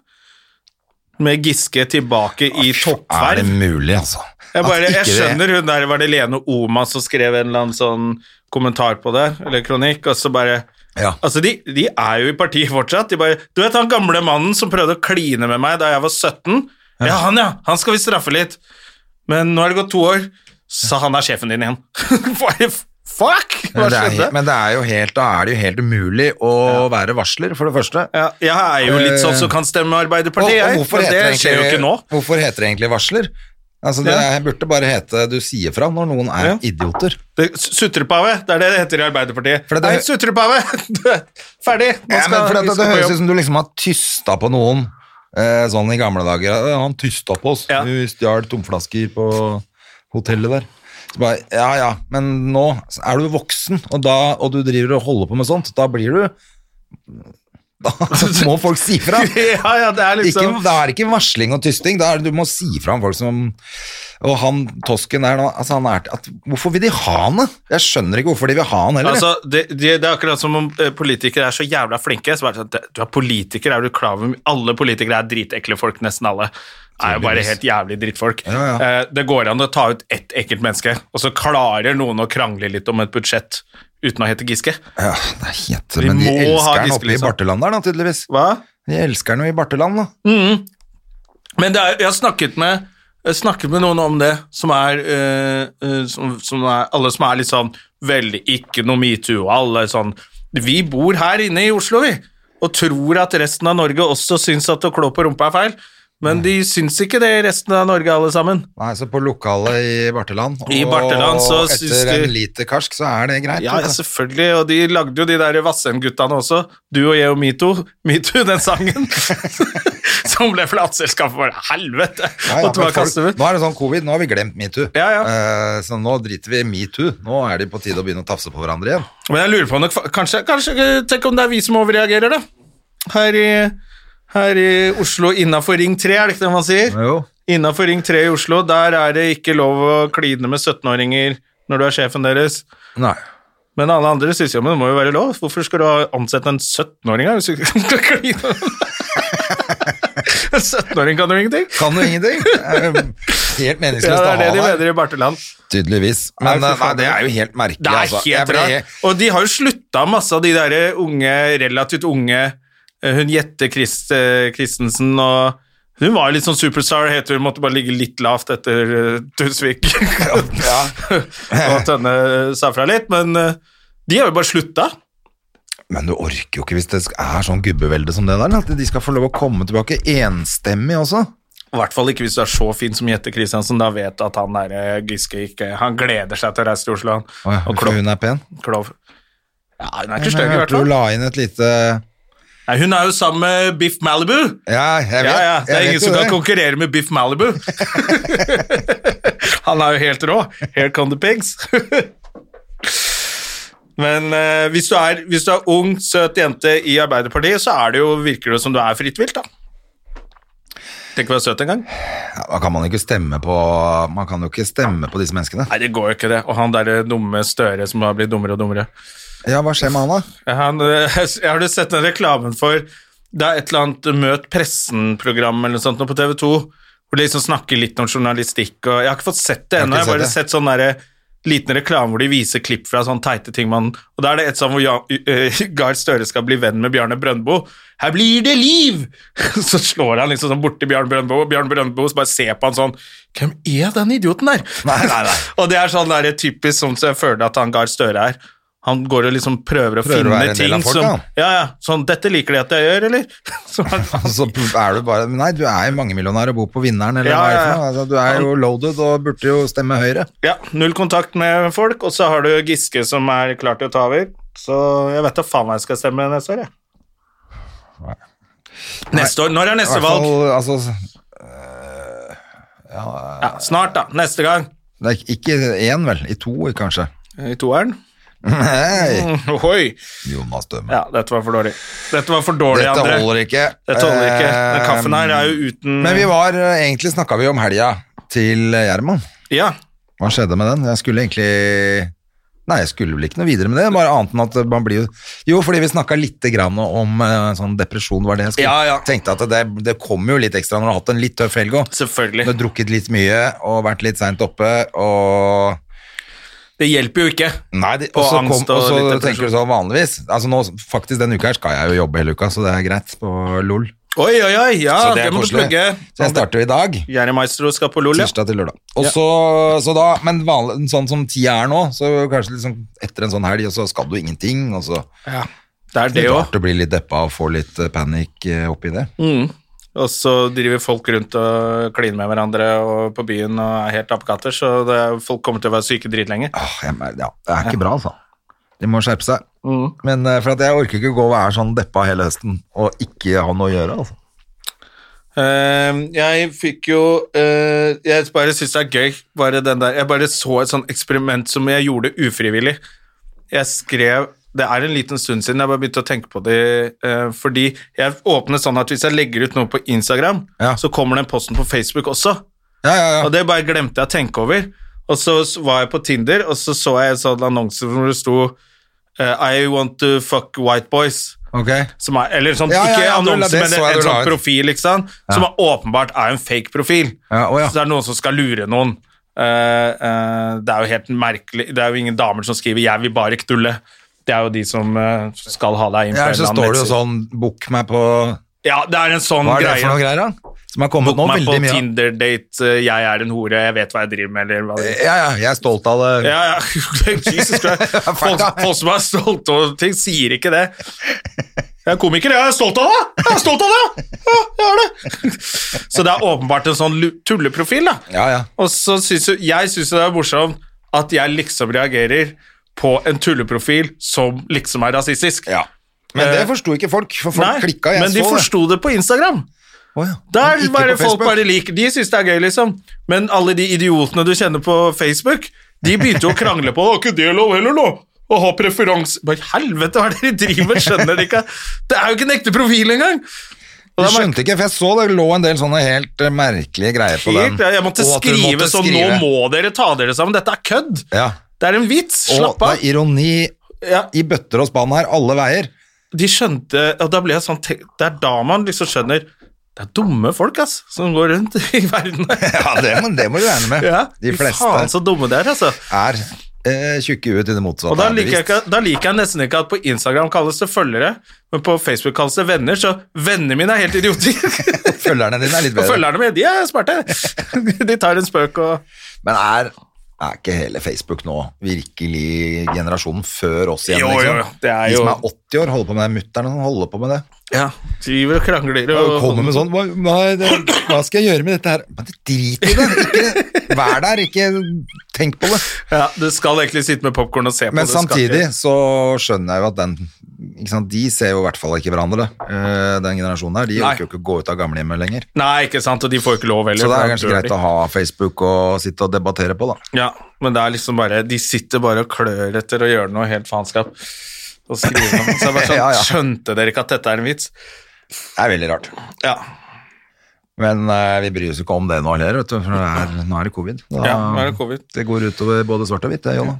Speaker 1: Med Giske tilbake i
Speaker 2: Er det
Speaker 1: toppverv.
Speaker 2: mulig, altså?
Speaker 1: Jeg, bare,
Speaker 2: At
Speaker 1: jeg
Speaker 2: ikke det-
Speaker 1: skjønner hun der, var det Lene Oma som skrev en eller annen sånn kommentar på det, eller kronikk, og så bare
Speaker 2: Ja.
Speaker 1: Altså, de, de er jo i partiet fortsatt. De bare Du vet han gamle mannen som prøvde å kline med meg da jeg var 17? Ja, han, ja. Han skal vi straffe litt. Men nå har det gått to år, så han er sjefen din igjen. Bare, Fuck! Hva
Speaker 2: Men det, er,
Speaker 1: skjedde?
Speaker 2: he- men det er jo helt, da er det jo helt umulig å være varsler, for det første.
Speaker 1: Ja, jeg er jo litt sånn som kan stemme Arbeiderpartiet,
Speaker 2: Eh, Og- og
Speaker 1: jeg.
Speaker 2: hvorfor
Speaker 1: men det
Speaker 2: heter
Speaker 1: skjer jo
Speaker 2: egentlig-
Speaker 1: ikke nå.
Speaker 2: Hvorfor heter det egentlig varsler? Altså, det
Speaker 1: Ja.
Speaker 2: er- burde bare hete du sier fra når noen er
Speaker 1: Ja.
Speaker 2: idioter.
Speaker 1: Det, sutrepave, det er det det heter i Arbeiderpartiet.
Speaker 2: For det-
Speaker 1: Nei, sutrepave! Ferdig! Nå
Speaker 2: Ja,
Speaker 1: skal,
Speaker 2: men for det,
Speaker 1: vi
Speaker 2: det,
Speaker 1: skal på
Speaker 2: høres
Speaker 1: jobb.
Speaker 2: ut som du liksom har tysta på noen eh, sånn i gamle dager. Ja, Han tysta på oss.
Speaker 1: Ja.
Speaker 2: Vi stjal tomflasker på hotellet der. Så bare, ja, ja, men nå er du voksen, og, da, og du driver og holder på med sånt. Da blir du Da må folk si fra.
Speaker 1: Ja, ja, det er liksom
Speaker 2: ikke, da er det ikke varsling og tysting, da er det du må si fra om folk som Og han tosken der nå, altså han er at, Hvorfor vil de ha han, da? Jeg skjønner ikke hvorfor de vil ha han heller.
Speaker 1: Altså, det, det, det er akkurat som om eh, politikere er så jævla flinke. Så bare sånn, du er politiker, er du klar over Alle politikere er dritekle folk, nesten alle. er jo bare helt jævlig drittfolk.
Speaker 2: Ja, ja.
Speaker 1: Eh, Det går an å ta ut ett enkelt menneske, og så klarer noen å krangle litt om et budsjett uten å hete Giske.
Speaker 2: Ja, det er helt,
Speaker 1: Vi
Speaker 2: men de
Speaker 1: må ha
Speaker 2: elsker den
Speaker 1: Giske,
Speaker 2: oppe i
Speaker 1: liksom.
Speaker 2: Barteland der, da, tydeligvis.
Speaker 1: Hva?
Speaker 2: De elsker den jo i Barteland, da.
Speaker 1: Men det er, jeg har snakket med, jeg har snakket med noen om det, som er, eh, eh, som, som er Alle som er litt sånn Veldig ikke noe metoo. Alle er sånn Vi bor her inne i Oslo, vi, og tror at resten av Norge også syns at å klå på rumpa er feil. Men de syns ikke det i resten av Norge, alle sammen.
Speaker 2: Nei, så på lokalet i Barteland.
Speaker 1: I Barteland, så
Speaker 2: og
Speaker 1: syns
Speaker 2: etter
Speaker 1: du-
Speaker 2: en liter karsk, så er det greit.
Speaker 1: Ja, altså, ja,
Speaker 2: vet du.
Speaker 1: selvfølgelig. Og de lagde jo de der Vassendguttene også. Du og jeg og Metoo. Metoo, den sangen. som ble plateselskapet for helvete!
Speaker 2: Ja, ja,
Speaker 1: og det
Speaker 2: men
Speaker 1: var
Speaker 2: folk,
Speaker 1: kastet ut.
Speaker 2: nå er det sånn covid, nå har vi glemt metoo.
Speaker 1: Ja, ja.
Speaker 2: Eh, så nå driter vi i metoo. Nå er det på tide å begynne å tafse på hverandre igjen.
Speaker 1: Men jeg lurer på om det- kanskje, kanskje Tenk om det er vi som overreagerer, da. Her i, her i Oslo innafor Ring 3, er det ikke det man sier?
Speaker 2: Jo.
Speaker 1: Innafor Ring 3 i Oslo, der er det ikke lov å kline med 17-åringer når du er sjefen deres.
Speaker 2: Nei.
Speaker 1: Men alle andre synes jo men det må jo være lov. Hvorfor skal du ha- ansette en 17-åring her? hvis du ikke skal kline med den? En 17-åring kan jo ingenting.
Speaker 2: Kan jo ingenting. Det er jo Helt
Speaker 1: Ja,
Speaker 2: meningsløst
Speaker 1: det er det de
Speaker 2: å ha der.
Speaker 1: mener i Barteland.
Speaker 2: Tydeligvis. Men
Speaker 1: Nei,
Speaker 2: eh,
Speaker 1: for
Speaker 2: nei,
Speaker 1: faen.
Speaker 2: det er jo helt merkelig,
Speaker 1: Det er
Speaker 2: altså. Jeg
Speaker 1: helt
Speaker 2: ble-
Speaker 1: rart. Og de har jo slutta masse av de der unge, relativt unge eh, Hun Jette Christ, eh, Christensen og Hun var jo litt sånn superstar, heter hun. Måtte bare ligge litt lavt etter eh, Tusvik og Tønne sa fra litt. Men eh, de har jo bare slutta.
Speaker 2: Men du orker jo ikke hvis det er sånn gubbevelde som det der, at de skal få lov å komme tilbake enstemmig også.
Speaker 1: I hvert fall ikke hvis du er så fin som Jette Christensen. Da vet at han der eh, Giske ikke Han gleder seg til å reise til Oslo, han.
Speaker 2: Å ja,
Speaker 1: og
Speaker 2: for
Speaker 1: klov,
Speaker 2: hun er pen.
Speaker 1: klov. Ja, hun er
Speaker 2: Jeg
Speaker 1: ikke stygg, i hvert
Speaker 2: hørte du
Speaker 1: fall.
Speaker 2: la inn et lite
Speaker 1: Nei, hun er jo sammen med Biff Malibu.
Speaker 2: Ja, jeg vet.
Speaker 1: Ja, ja. Det
Speaker 2: jeg
Speaker 1: er
Speaker 2: vet
Speaker 1: ingen
Speaker 2: jo
Speaker 1: som kan
Speaker 2: det.
Speaker 1: konkurrere med Biff Malibu. Han er jo helt rå. Here come the pigs. Men eh, hvis, du er, hvis du er ung, søt jente i Arbeiderpartiet, så er det jo, virker det som du er fritt vilt, da. Tenk å være søt en gang.
Speaker 2: Ja, da kan man ikke stemme på Man kan jo ikke stemme på disse menneskene.
Speaker 1: Nei, det går jo ikke, det. Og han derre dumme Støre som har blitt dummere og dummere.
Speaker 2: Ja, hva skjer med han, da?
Speaker 1: Han, eh, har du sett den reklamen for Det er et eller annet Møt pressen-program eller noe sånt nå på TV 2, hvor de liksom snakker litt om journalistikk og Jeg har ikke fått sett det
Speaker 2: har
Speaker 1: ennå,
Speaker 2: ikke
Speaker 1: jeg har bare
Speaker 2: sett
Speaker 1: sett sånn derre Liten reklame hvor de viser klipp fra sånne teite ting man Og da er det et sånn hvor Jan, eh, Gahr Støre skal bli venn med Bjarne Brøndbo. Her blir det liv! Så slår han liksom sånn borti Bjarne Brøndbo, og Bjarne Brøndbo så bare ser på han sånn Hvem er den idioten der?
Speaker 2: Nei, nei, nei.
Speaker 1: og det er sånn der, typisk sånn som jeg føler at han Gahr Støre er. Han går og liksom prøver å
Speaker 2: Prøver å
Speaker 1: finne
Speaker 2: være en del
Speaker 1: ting
Speaker 2: av folk,
Speaker 1: som
Speaker 2: da.
Speaker 1: Ja, ja. Sånn, dette liker de at jeg gjør, eller? Så sånn, han,
Speaker 2: Så er du bare Nei, du er jo mangemillionær og bor på Vinneren, eller
Speaker 1: Ja,
Speaker 2: hva er det
Speaker 1: ja,
Speaker 2: for
Speaker 1: ja.
Speaker 2: noe? Altså, du er jo loaded og burde jo stemme Høyre.
Speaker 1: ja, null kontakt med folk, og så har du Giske som er klar til å ta over. Så jeg vet da faen hva jeg skal stemme neste år, jeg. Neste år? Når er
Speaker 2: I
Speaker 1: neste
Speaker 2: hvert
Speaker 1: valg?
Speaker 2: fall, altså
Speaker 1: Ja, snart, da. Neste gang.
Speaker 2: det er Ikke én, vel? I to, kanskje.
Speaker 1: I toeren. Mm,
Speaker 2: Nei!
Speaker 1: Ohoi.
Speaker 2: Jonas Døhme.
Speaker 1: Ja, dette var for dårlig. Dette var for dårlig,
Speaker 2: Dette
Speaker 1: André.
Speaker 2: holder ikke. Eh,
Speaker 1: Dette holder ikke. Den kaffen her er jo uten
Speaker 2: Men vi var, eh, egentlig snakka vi om helga til Gjerman.
Speaker 1: Ja.
Speaker 2: Hva skjedde med den? Jeg skulle egentlig Nei, jeg skulle vel ikke noe videre med det. Bare annet enn at man blir jo Jo, fordi vi snakka lite grann om eh, sånn depresjon, var det jeg skulle
Speaker 1: Ja, ja.
Speaker 2: Tenkte at det, det kommer jo litt ekstra når du har hatt en litt tøff helg òg. Du
Speaker 1: Selvfølgelig.
Speaker 2: har drukket litt mye og vært litt seint oppe, og
Speaker 1: Det hjelper jo ikke.
Speaker 2: Nei, de,
Speaker 1: Og
Speaker 2: og så kom,
Speaker 1: angst og
Speaker 2: og så
Speaker 1: litt depresjon.
Speaker 2: tenker du sånn vanligvis Altså nå, faktisk denne uka her skal jeg jo jobbe hele uka, så det er greit på LOL.
Speaker 1: Oi, oi, oi. Ja,
Speaker 2: Så
Speaker 1: det,
Speaker 2: det er
Speaker 1: må du
Speaker 2: koselig.
Speaker 1: plugge.
Speaker 2: Så jeg starter jo i dag.
Speaker 1: Jerry Maestro skal på LOL, ja.
Speaker 2: Tirsdag til lørdag. Og så, så da, men vanlig, sånn som tida er nå, så kanskje liksom etter en sånn helg, og så skal du ingenting, og så
Speaker 1: Ja, det er
Speaker 2: det
Speaker 1: det Mm.
Speaker 2: er
Speaker 1: òg.
Speaker 2: rart å bli litt deppa og få litt eh, panikk eh, oppi det.
Speaker 1: Og så driver folk rundt og kliner med hverandre og på byen og er helt apekatter, så det er, folk kommer til å være syke dritlenge.
Speaker 2: Åh, Ah, jeg, mer- ja, det er ikke bra, altså. De må skjerpe seg.
Speaker 1: Mm.
Speaker 2: Men eh, for at jeg orker ikke gå og være sånn deppa hele høsten og ikke ha noe å gjøre, altså.
Speaker 1: Eh, jeg fikk jo eh, Jeg bare syns det er gøy, bare den der Jeg bare så et sånt eksperiment som jeg gjorde ufrivillig. Jeg skrev Det er en liten stund siden jeg bare begynte å tenke på det, eh, fordi jeg åpner sånn at hvis jeg legger ut noe på Instagram,
Speaker 2: Ja.
Speaker 1: så kommer den posten på Facebook også.
Speaker 2: Ja, ja, ja.
Speaker 1: Og det bare glemte jeg å tenke over. Og så s- var jeg på Tinder, og så så jeg en sånn annonse hvor det sto eh, I want to fuck white boys.
Speaker 2: Ok.
Speaker 1: Som er, eller sånn,
Speaker 2: Ja, ja,
Speaker 1: ikke
Speaker 2: ja, du la-
Speaker 1: annonse,
Speaker 2: det
Speaker 1: men
Speaker 2: så
Speaker 1: en,
Speaker 2: jeg
Speaker 1: en
Speaker 2: du la
Speaker 1: sånn
Speaker 2: ut.
Speaker 1: profil, ikke sant? Som er, åpenbart er en fake profil.
Speaker 2: Ja, å ja.
Speaker 1: Så det er noen som skal lure noen. Eh, eh, det er jo helt merkelig Det er jo ingen damer som skriver 'jeg vil bare knulle'. Det er jo de som eh, skal ha deg inn på
Speaker 2: Ja,
Speaker 1: en
Speaker 2: så
Speaker 1: eller annen
Speaker 2: står det jo
Speaker 1: nettside.
Speaker 2: sånn Book meg på Hva
Speaker 1: Ja, det er en sånn
Speaker 2: er det
Speaker 1: greie.
Speaker 2: for noen greier, da? Som har kommet
Speaker 1: Bok
Speaker 2: nå
Speaker 1: meg på
Speaker 2: veldig mye. av.
Speaker 1: Tinder-date, eh, jeg er en hore, jeg vet hva jeg driver med, eller hva det er.
Speaker 2: Ja, ja, jeg er stolt av det.
Speaker 1: Ja, ja. Jesus Christ. Folk, folk som er stolte over ting, sier ikke det. Jeg er komiker, jeg er stolt av det! Jeg er stolt av det! Ja, jeg er det! Så det er åpenbart en sånn lu- tulleprofil, da.
Speaker 2: Ja, ja.
Speaker 1: Og så synes jo, jeg synes det er morsomt at jeg liksom reagerer på en tulleprofil som liksom er rasistisk.
Speaker 2: Ja. Men det
Speaker 1: Eh,
Speaker 2: forsto ikke folk, for folk
Speaker 1: Nei,
Speaker 2: klikka. Jeg
Speaker 1: men de
Speaker 2: så det.
Speaker 1: forsto det på Instagram.
Speaker 2: Å, ja.
Speaker 1: Der
Speaker 2: Men ikke
Speaker 1: bare
Speaker 2: på
Speaker 1: folk
Speaker 2: Facebook.
Speaker 1: bare liker De synes det er gøy, liksom. Men alle de idiotene du kjenner på Facebook, de begynte jo å krangle på det. Var ikke det lov heller, nå? Å ha preferanse Bare helvete, hva er det de driver med? Skjønner de ikke? Det er jo ikke en ekte profil engang! Og
Speaker 2: De
Speaker 1: det er
Speaker 2: skjønte ikke, for jeg så det lå en del sånne helt eh, merkelige greier på den.
Speaker 1: merkelig, jeg måtte
Speaker 2: Og at du
Speaker 1: skrive
Speaker 2: måtte
Speaker 1: sånn
Speaker 2: skrive.
Speaker 1: Nå må dere ta dere sammen, dette er kødd!
Speaker 2: Ja.
Speaker 1: Det er en vits!
Speaker 2: Og
Speaker 1: Slapp
Speaker 2: det
Speaker 1: av!
Speaker 2: er ironi
Speaker 1: Ja,
Speaker 2: i bøtter og spann her, alle veier.
Speaker 1: de skjønte Og da ble jeg sånn te- Det er da man liksom skjønner Det er dumme folk, ass, som går rundt i verden.
Speaker 2: Ja, det, må- det må du regne med.
Speaker 1: Ja,
Speaker 2: De
Speaker 1: fy
Speaker 2: fleste
Speaker 1: Faen, så dumme de er, altså.
Speaker 2: er eh, tjukke i huet til det motsatte.
Speaker 1: Og da
Speaker 2: er
Speaker 1: liker, jeg
Speaker 2: bevisst.
Speaker 1: ikke, da liker jeg nesten ikke at på Instagram kalles det følgere, men på Facebook kalles det venner, så vennene mine er helt idioter.
Speaker 2: Følgerne dine er litt
Speaker 1: og
Speaker 2: bedre.
Speaker 1: følgerne mine, de er smarte. De tar en spøk og
Speaker 2: Men er, er ikke hele Facebook nå virkelig generasjonen før oss igjen?
Speaker 1: Jo,
Speaker 2: liksom?
Speaker 1: jo, det er
Speaker 2: De som
Speaker 1: jo-
Speaker 2: er 80 år, holder på med det. Mutter'n holder på med det.
Speaker 1: ja, driver og krangler
Speaker 2: Og
Speaker 1: og
Speaker 2: kommer med sånn hva, hva er det- hva skal jeg gjøre med dette her? Men det drit i det! Ikke vær der, ikke tenk på det.
Speaker 1: ja, Du skal egentlig sitte med popkorn og se på
Speaker 2: Men
Speaker 1: det, du skal
Speaker 2: samtidig
Speaker 1: ikke-
Speaker 2: så skjønner jeg jo at den ikke sant? De ser jo i hvert fall ikke hverandre, eh, den generasjonen her. De
Speaker 1: Nei.
Speaker 2: orker jo ikke å gå ut av gamlehjemmet lenger.
Speaker 1: Nei, ikke sant, og de får ikke lov heller.
Speaker 2: Så det er
Speaker 1: for da
Speaker 2: kanskje
Speaker 1: dør
Speaker 2: greit
Speaker 1: de.
Speaker 2: å ha Facebook og sitte og debattere på, da.
Speaker 1: Ja, men det er liksom bare De sitter bare og klør etter å gjøre noe helt faenskap. Og skriver om det. Så jeg bare sånn,
Speaker 2: Ja, ja.
Speaker 1: Skjønte dere ikke at dette er en vits?
Speaker 2: Det er veldig rart.
Speaker 1: Ja.
Speaker 2: Men eh, vi bryr oss ikke om det nå heller, vet du. For det er, nå er det covid. Da,
Speaker 1: ja, nå er det covid.
Speaker 2: det går utover både svart og hvitt, det, Jonna.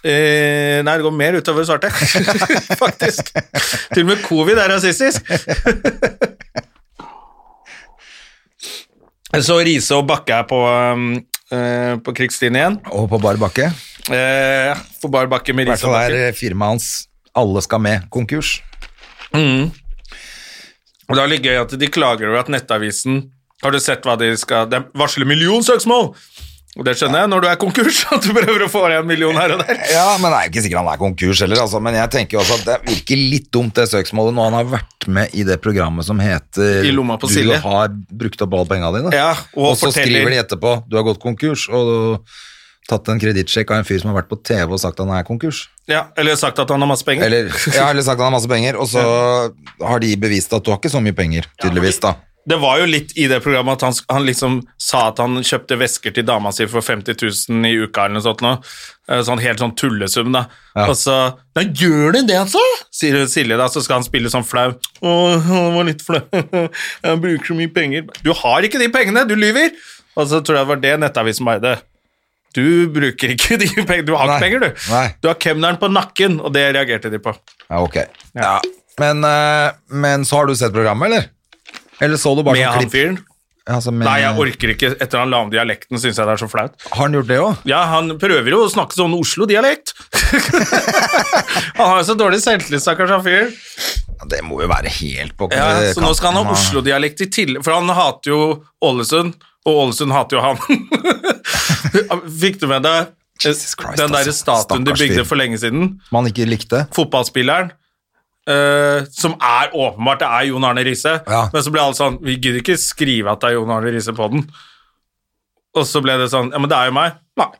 Speaker 1: Eh, nei, det går mer utover svarte, faktisk. Til og med covid er rasistisk. Så Riise og Bakke er på, um, eh, på krigsstien igjen.
Speaker 2: Og på bar bakke. I
Speaker 1: Eh, for bare Bakke med
Speaker 2: hvert
Speaker 1: Riise og
Speaker 2: fall er
Speaker 1: Bakke.
Speaker 2: eh, firmaet hans Alle skal med-konkurs.
Speaker 1: Og det er litt gøy at de klager over at Nettavisen Har du sett hva de skal De varsler millionsøksmål! Og det skjønner jeg når du er konkurs, at du prøver å få deg en million her og der.
Speaker 2: Ja, men det er jo ikke sikkert han er konkurs heller, altså. Men jeg tenker jo også at det virker litt dumt det søksmålet når han har vært med i det programmet som heter
Speaker 1: I lomma på
Speaker 2: Du
Speaker 1: Silje».
Speaker 2: har brukt opp alle pengene dine.
Speaker 1: Ja, og
Speaker 2: og så
Speaker 1: forteller-
Speaker 2: skriver de etterpå du har gått konkurs og du har tatt en kredittsjekk av en fyr som har vært på TV og sagt han er konkurs.
Speaker 1: Ja, eller sagt at han har masse penger.
Speaker 2: Eller, ja, eller sagt han har masse penger, og så har de bevist at du har ikke så mye penger, tydeligvis, da.
Speaker 1: Det var jo litt i det programmet at han, han liksom sa at han kjøpte vesker til dama si for 50 000 i uka eller noe sånt nå. Eh, Sånn helt sånn tullesum, da. Og så Nei, gjør det det, altså? Sier hun Silje, da. Så skal han spille sånn flau. Å, han var litt flau. Jeg bruker så mye penger. Du har ikke de pengene, du lyver! Og så tror jeg det var det Nettavisen bare det. Du bruker ikke de pengene. Du har ikke
Speaker 2: Nei.
Speaker 1: penger, du.
Speaker 2: Nei.
Speaker 1: Du har kemneren på nakken, og det reagerte de på.
Speaker 2: Ja, ok. Ja. Men, eh, men så har du sett programmet, eller? Eller så du bare
Speaker 1: Med
Speaker 2: sånn
Speaker 1: han
Speaker 2: klipp?
Speaker 1: fyren.
Speaker 2: Altså, med-
Speaker 1: Nei, jeg orker ikke. Etter han la om dialekten, syns jeg det er så flaut.
Speaker 2: Har han gjort det òg?
Speaker 1: Ja, han prøver jo å snakke sånn Oslo-dialekt. han har jo så dårlig selvtillit, stakkars han fyren.
Speaker 2: Det må jo være helt på
Speaker 1: Ja, så nå skal han ha Oslo-dialekt i tillegg, for han hater jo Ålesund, og Ålesund hater jo han. Fikk du med deg eh,
Speaker 2: Jesus Christ,
Speaker 1: den derre
Speaker 2: altså.
Speaker 1: statuen de
Speaker 2: Stakkars
Speaker 1: bygde
Speaker 2: fyr.
Speaker 1: for lenge siden?
Speaker 2: Man ikke likte.
Speaker 1: Fotballspilleren. eh, som er åpenbart det er Jon Arne Riise,
Speaker 2: Ja.
Speaker 1: men så ble alle sånn Vi gidder ikke skrive at det er Jon Arne Riise på den. Og så ble det sånn Ja, men det er jo meg. Nei,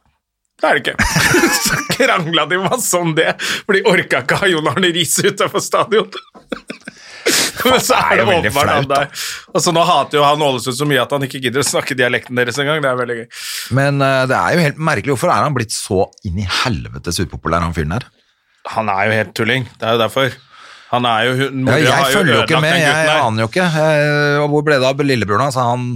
Speaker 1: det er det ikke. så krangla de masse om det, for de orka ikke ha Jon Arne Riise utafor stadion. men så
Speaker 2: Det
Speaker 1: er
Speaker 2: er
Speaker 1: det
Speaker 2: jo veldig
Speaker 1: åpenbart
Speaker 2: flaut,
Speaker 1: han
Speaker 2: da.
Speaker 1: der. Og så nå hater jo han Ålesund så mye at han ikke gidder å snakke dialekten deres engang. Det er veldig gøy.
Speaker 2: Men eh, det er jo helt merkelig. Hvorfor er han blitt så inn i helvetes upopulær, han fyren der?
Speaker 1: Han er jo helt tulling. Det er jo derfor. Han er jo hun-
Speaker 2: Ja,
Speaker 1: mora har
Speaker 2: jeg følger jo ikke
Speaker 1: ødelagt
Speaker 2: med,
Speaker 1: den gutten
Speaker 2: jeg
Speaker 1: her.
Speaker 2: aner jo ikke. Eh, Og hvor ble det av lillebroren hans? Han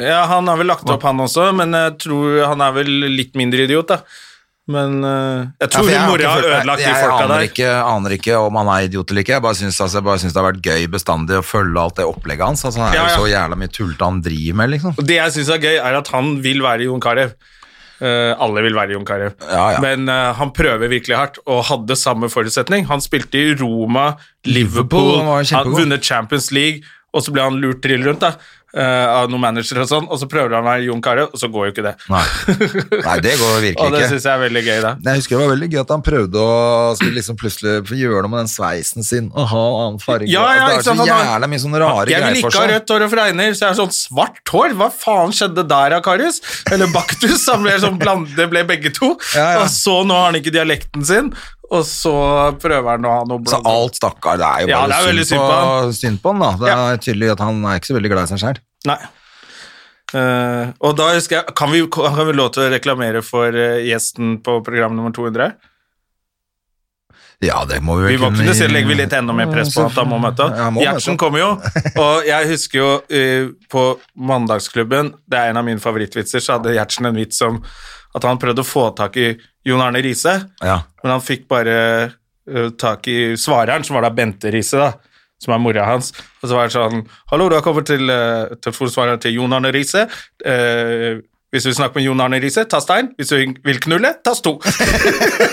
Speaker 1: Ja, han har vel lagt opp han også, men jeg tror han er vel litt mindre idiot, da. Men eh, jeg
Speaker 2: Ja, for
Speaker 1: tror
Speaker 2: jeg
Speaker 1: hun
Speaker 2: har
Speaker 1: mora
Speaker 2: ikke
Speaker 1: har
Speaker 2: følt-
Speaker 1: ødelagt de
Speaker 2: jeg
Speaker 1: folka
Speaker 2: aner
Speaker 1: der.
Speaker 2: Ikke, aner ikke om han er idiot eller ikke. Jeg bare syns altså, jeg bare syns det har vært gøy bestandig å følge alt det opplegget hans. Altså, han er
Speaker 1: Ja, ja.
Speaker 2: jo så jævla mye tullete han driver med, liksom.
Speaker 1: Og det jeg syns er gøy, er at han vil være Jon Carew. Eh, alle vil være Jon Carew,
Speaker 2: Ja, ja.
Speaker 1: men eh, han prøver virkelig hardt og hadde samme forutsetning. Han spilte i Roma, Liverpool,
Speaker 2: Liverpool, han var jo
Speaker 1: han
Speaker 2: kjempegod.
Speaker 1: vunnet Champions League, og så ble han lurt trill rundt da, eh, av noen managere og sånn, og så prøver han å være Jon Carew, og så går jo ikke det.
Speaker 2: Nei, Nei det går virkelig
Speaker 1: og det
Speaker 2: ikke.
Speaker 1: syns jeg er veldig gøy, da.
Speaker 2: Jeg husker det var veldig gøy at han prøvde å skulle liksom plutselig få gjøre noe med den sveisen sin. Og ha en annen farge.
Speaker 1: Ja, ja,
Speaker 2: Og Altså, det er
Speaker 1: ikke
Speaker 2: så
Speaker 1: sant, han har-
Speaker 2: jævla mye sånne rare
Speaker 1: Jeg vil
Speaker 2: greier
Speaker 1: ikke
Speaker 2: for
Speaker 1: ha
Speaker 2: seg.
Speaker 1: rødt hår og fregner, så jeg har sånn svart hår. Hva faen skjedde der, Akarius? Eller Baktus? Han ble sånn bland- det ble begge to.
Speaker 2: Ja, ja.
Speaker 1: Og så nå har han ikke dialekten sin, og så prøver han å ha noe
Speaker 2: Så
Speaker 1: blandet.
Speaker 2: alt, stakkar. Det er jo
Speaker 1: Ja,
Speaker 2: bare
Speaker 1: det er veldig
Speaker 2: synd,
Speaker 1: synd
Speaker 2: på,
Speaker 1: på
Speaker 2: synd på han, da. Det er tydelig at han er ikke så veldig glad i seg sjøl.
Speaker 1: Nei. Eh, og da husker jeg Kan vi, kan vi lov til å reklamere for eh, gjesten på program nummer 200?
Speaker 2: Ja, det må vi vel
Speaker 1: Vi må kunne si, legger vi litt enda mer press på at han må møte
Speaker 2: Ja, han
Speaker 1: opp.
Speaker 2: må møte
Speaker 1: Gjertsen
Speaker 2: opp.
Speaker 1: kommer jo, og jeg husker jo eh, på Mandagsklubben, det er en av mine favorittvitser, så hadde Gjertsen en vits om at han prøvde å få tak i Jon Arne Riise,
Speaker 2: Ja.
Speaker 1: men han fikk bare eh, tak i svareren, som var da Bente Riise, da, som er mora hans. Og så var det sånn Hallo, du har kommet til uh, telefonsvareren til Jon Arne Riise. Eh, hvis du vil snakke med Jon Arne Riise, tast én. Hvis du vil knulle, tast to.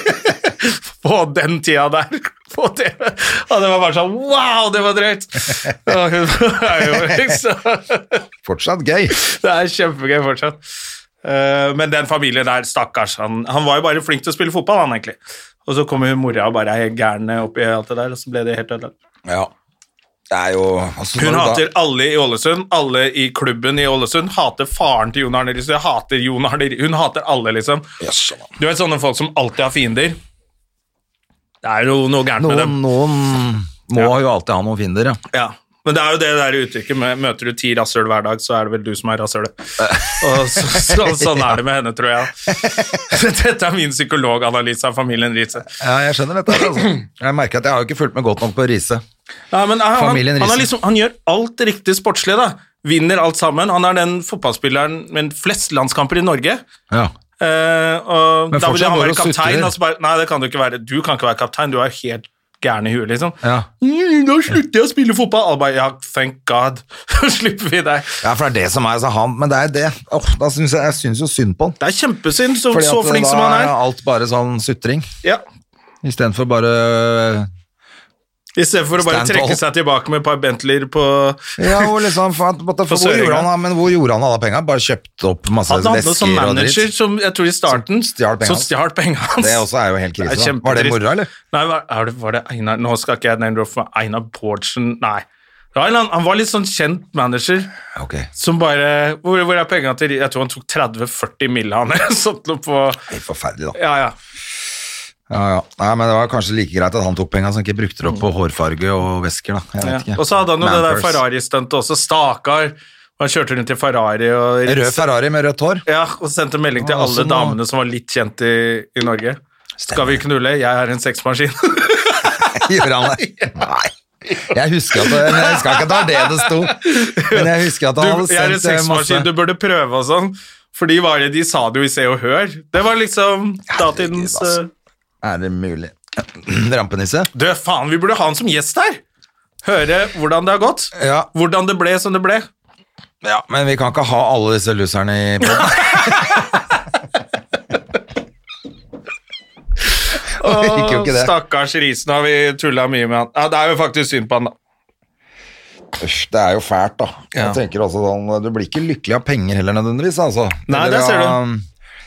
Speaker 1: på den tida der på TV. Og det var bare sånn Wow, det var drøyt! Og hun er jo liksom
Speaker 2: Fortsatt gøy.
Speaker 1: Det er kjempegøy fortsatt. Eh, Men den familien der, stakkars, han, han var jo bare flink til å spille fotball, han egentlig. Og så kommer hun mora og bare er helt gæren oppi alt det der, og så ble det helt ødelagt.
Speaker 2: Ja. Det er jo altså,
Speaker 1: Hun
Speaker 2: når du da-
Speaker 1: hater alle i Ålesund, alle i klubben i Ålesund, hater faren til Jon Arne Riise, hater Jon Arne Riise Hun hater alle, liksom.
Speaker 2: Jøsse, mann.
Speaker 1: Du vet sånne folk som alltid har fiender? Det er jo noe gærent med dem.
Speaker 2: Noen, noen må jo alltid ha noen fiender, ja.
Speaker 1: Ja, men det er jo det der uttrykket med møter du ti rasshøl hver dag, så er det vel du som er rasshølet. Og så, så, sånn er det med henne, tror jeg. Dette er min psykologanalyse av familien Riise.
Speaker 2: ja. Jeg skjønner dette. her, Altså. Jeg merker at jeg har jo ikke fulgt med godt nok på Riise.
Speaker 1: Ja, men han, han,
Speaker 2: Familien
Speaker 1: han, er
Speaker 2: Riise.
Speaker 1: liksom, han gjør alt det riktig sportslig, da. Vinner alt sammen. Han er den fotballspilleren med flest landskamper i Norge.
Speaker 2: Ja.
Speaker 1: Eh, og
Speaker 2: Men
Speaker 1: da ville
Speaker 2: fortsatt
Speaker 1: han
Speaker 2: går
Speaker 1: være
Speaker 2: og
Speaker 1: kaptein,
Speaker 2: sutrer.
Speaker 1: og så bare Nei, det kan du ikke være. Du kan ikke være kaptein, du er helt gæren i huet, liksom.
Speaker 2: Ja.
Speaker 1: Mm, Da slutter jeg å spille fotball! Alle bare Ja, thank god, så slipper vi deg.
Speaker 2: for det er det som er så han Men det er det. Åh, da syns jeg, jeg syns jo synd på han.
Speaker 1: Det er kjempesynd, så,
Speaker 2: Fordi
Speaker 1: så
Speaker 2: at
Speaker 1: flink
Speaker 2: da
Speaker 1: som han er.
Speaker 2: alt bare sånn sutring,
Speaker 1: Ja.
Speaker 2: istedenfor bare
Speaker 1: I stedet for å bare
Speaker 2: Stand
Speaker 1: trekke
Speaker 2: tall.
Speaker 1: seg tilbake med et par Bentleyer på
Speaker 2: Ja, hvor liksom for, at- for,
Speaker 1: På
Speaker 2: hvor
Speaker 1: Sørenga.
Speaker 2: gjorde han, av- Men hvor gjorde han alle penga? Bare kjøpte opp masse
Speaker 1: Han hadde sånn noe som
Speaker 2: vesker og
Speaker 1: manager
Speaker 2: dritt?
Speaker 1: som jeg tror i starten
Speaker 2: Som stjal pengene
Speaker 1: som
Speaker 2: hans.
Speaker 1: stjal pengene hans.
Speaker 2: Det også er jo helt krise.
Speaker 1: Det er
Speaker 2: da. Var det
Speaker 1: kjempetrist.
Speaker 2: moro, eller?
Speaker 1: Nei, var, er det, var det Einar Nå skal ikke jeg nevne det for Einar Bårdsen Nei. Det var en eller annen- han var litt sånn kjent manager
Speaker 2: Ok.
Speaker 1: som bare Hvor, hvor er pengene til Jeg tror han tok 30-40 mill. av han eller sånt noe på
Speaker 2: Helt forferdelig, da.
Speaker 1: Ja, ja.
Speaker 2: Ja, ja. Nei, men det var kanskje like greit at han tok penga, så han ikke brukte det opp på hårfarge og vesker, da. Jeg
Speaker 1: ja.
Speaker 2: vet ikke.
Speaker 1: Og så hadde han jo det der
Speaker 2: Manpurse.
Speaker 1: Ferrari-stuntet også. Stakkar. Han kjørte rundt i Ferrari og
Speaker 2: Rød Ferrari med rødt hår.
Speaker 1: Ja, og sendte melding til
Speaker 2: Ja,
Speaker 1: alle
Speaker 2: sånn, ja.
Speaker 1: damene som var litt kjent i, i Norge. Skal vi knulle? Jeg er en sexmaskin.
Speaker 2: Gjorde han det? Nei. Jeg husker, at det, men jeg husker ikke at det var det det sto. Men jeg husker at
Speaker 1: Du,
Speaker 2: han hadde
Speaker 1: jeg
Speaker 2: sendt
Speaker 1: er en
Speaker 2: eh, masse
Speaker 1: sexmaskin, du burde prøve og sånn. For de, var, de sa det jo i Se og Hør. Det var liksom datidens
Speaker 2: altså.
Speaker 1: eh,
Speaker 2: Er det mulig? Rampenisse?
Speaker 1: Du, faen, vi burde ha han som gjest her! Høre hvordan det har gått.
Speaker 2: Ja.
Speaker 1: Hvordan det ble som det ble.
Speaker 2: ja, men vi kan ikke ha alle disse loserne i podden. Det gikk jo
Speaker 1: Og
Speaker 2: ikke det.
Speaker 1: stakkars Risen har vi tulla mye med han. Ja, Det er jo faktisk synd på han, da.
Speaker 2: Uff, Det er jo fælt, da.
Speaker 1: Ja.
Speaker 2: Jeg tenker også sånn, Du blir ikke lykkelig av penger heller, nødvendigvis. altså.
Speaker 1: Nei,
Speaker 2: Eller
Speaker 1: det ser du. Mm.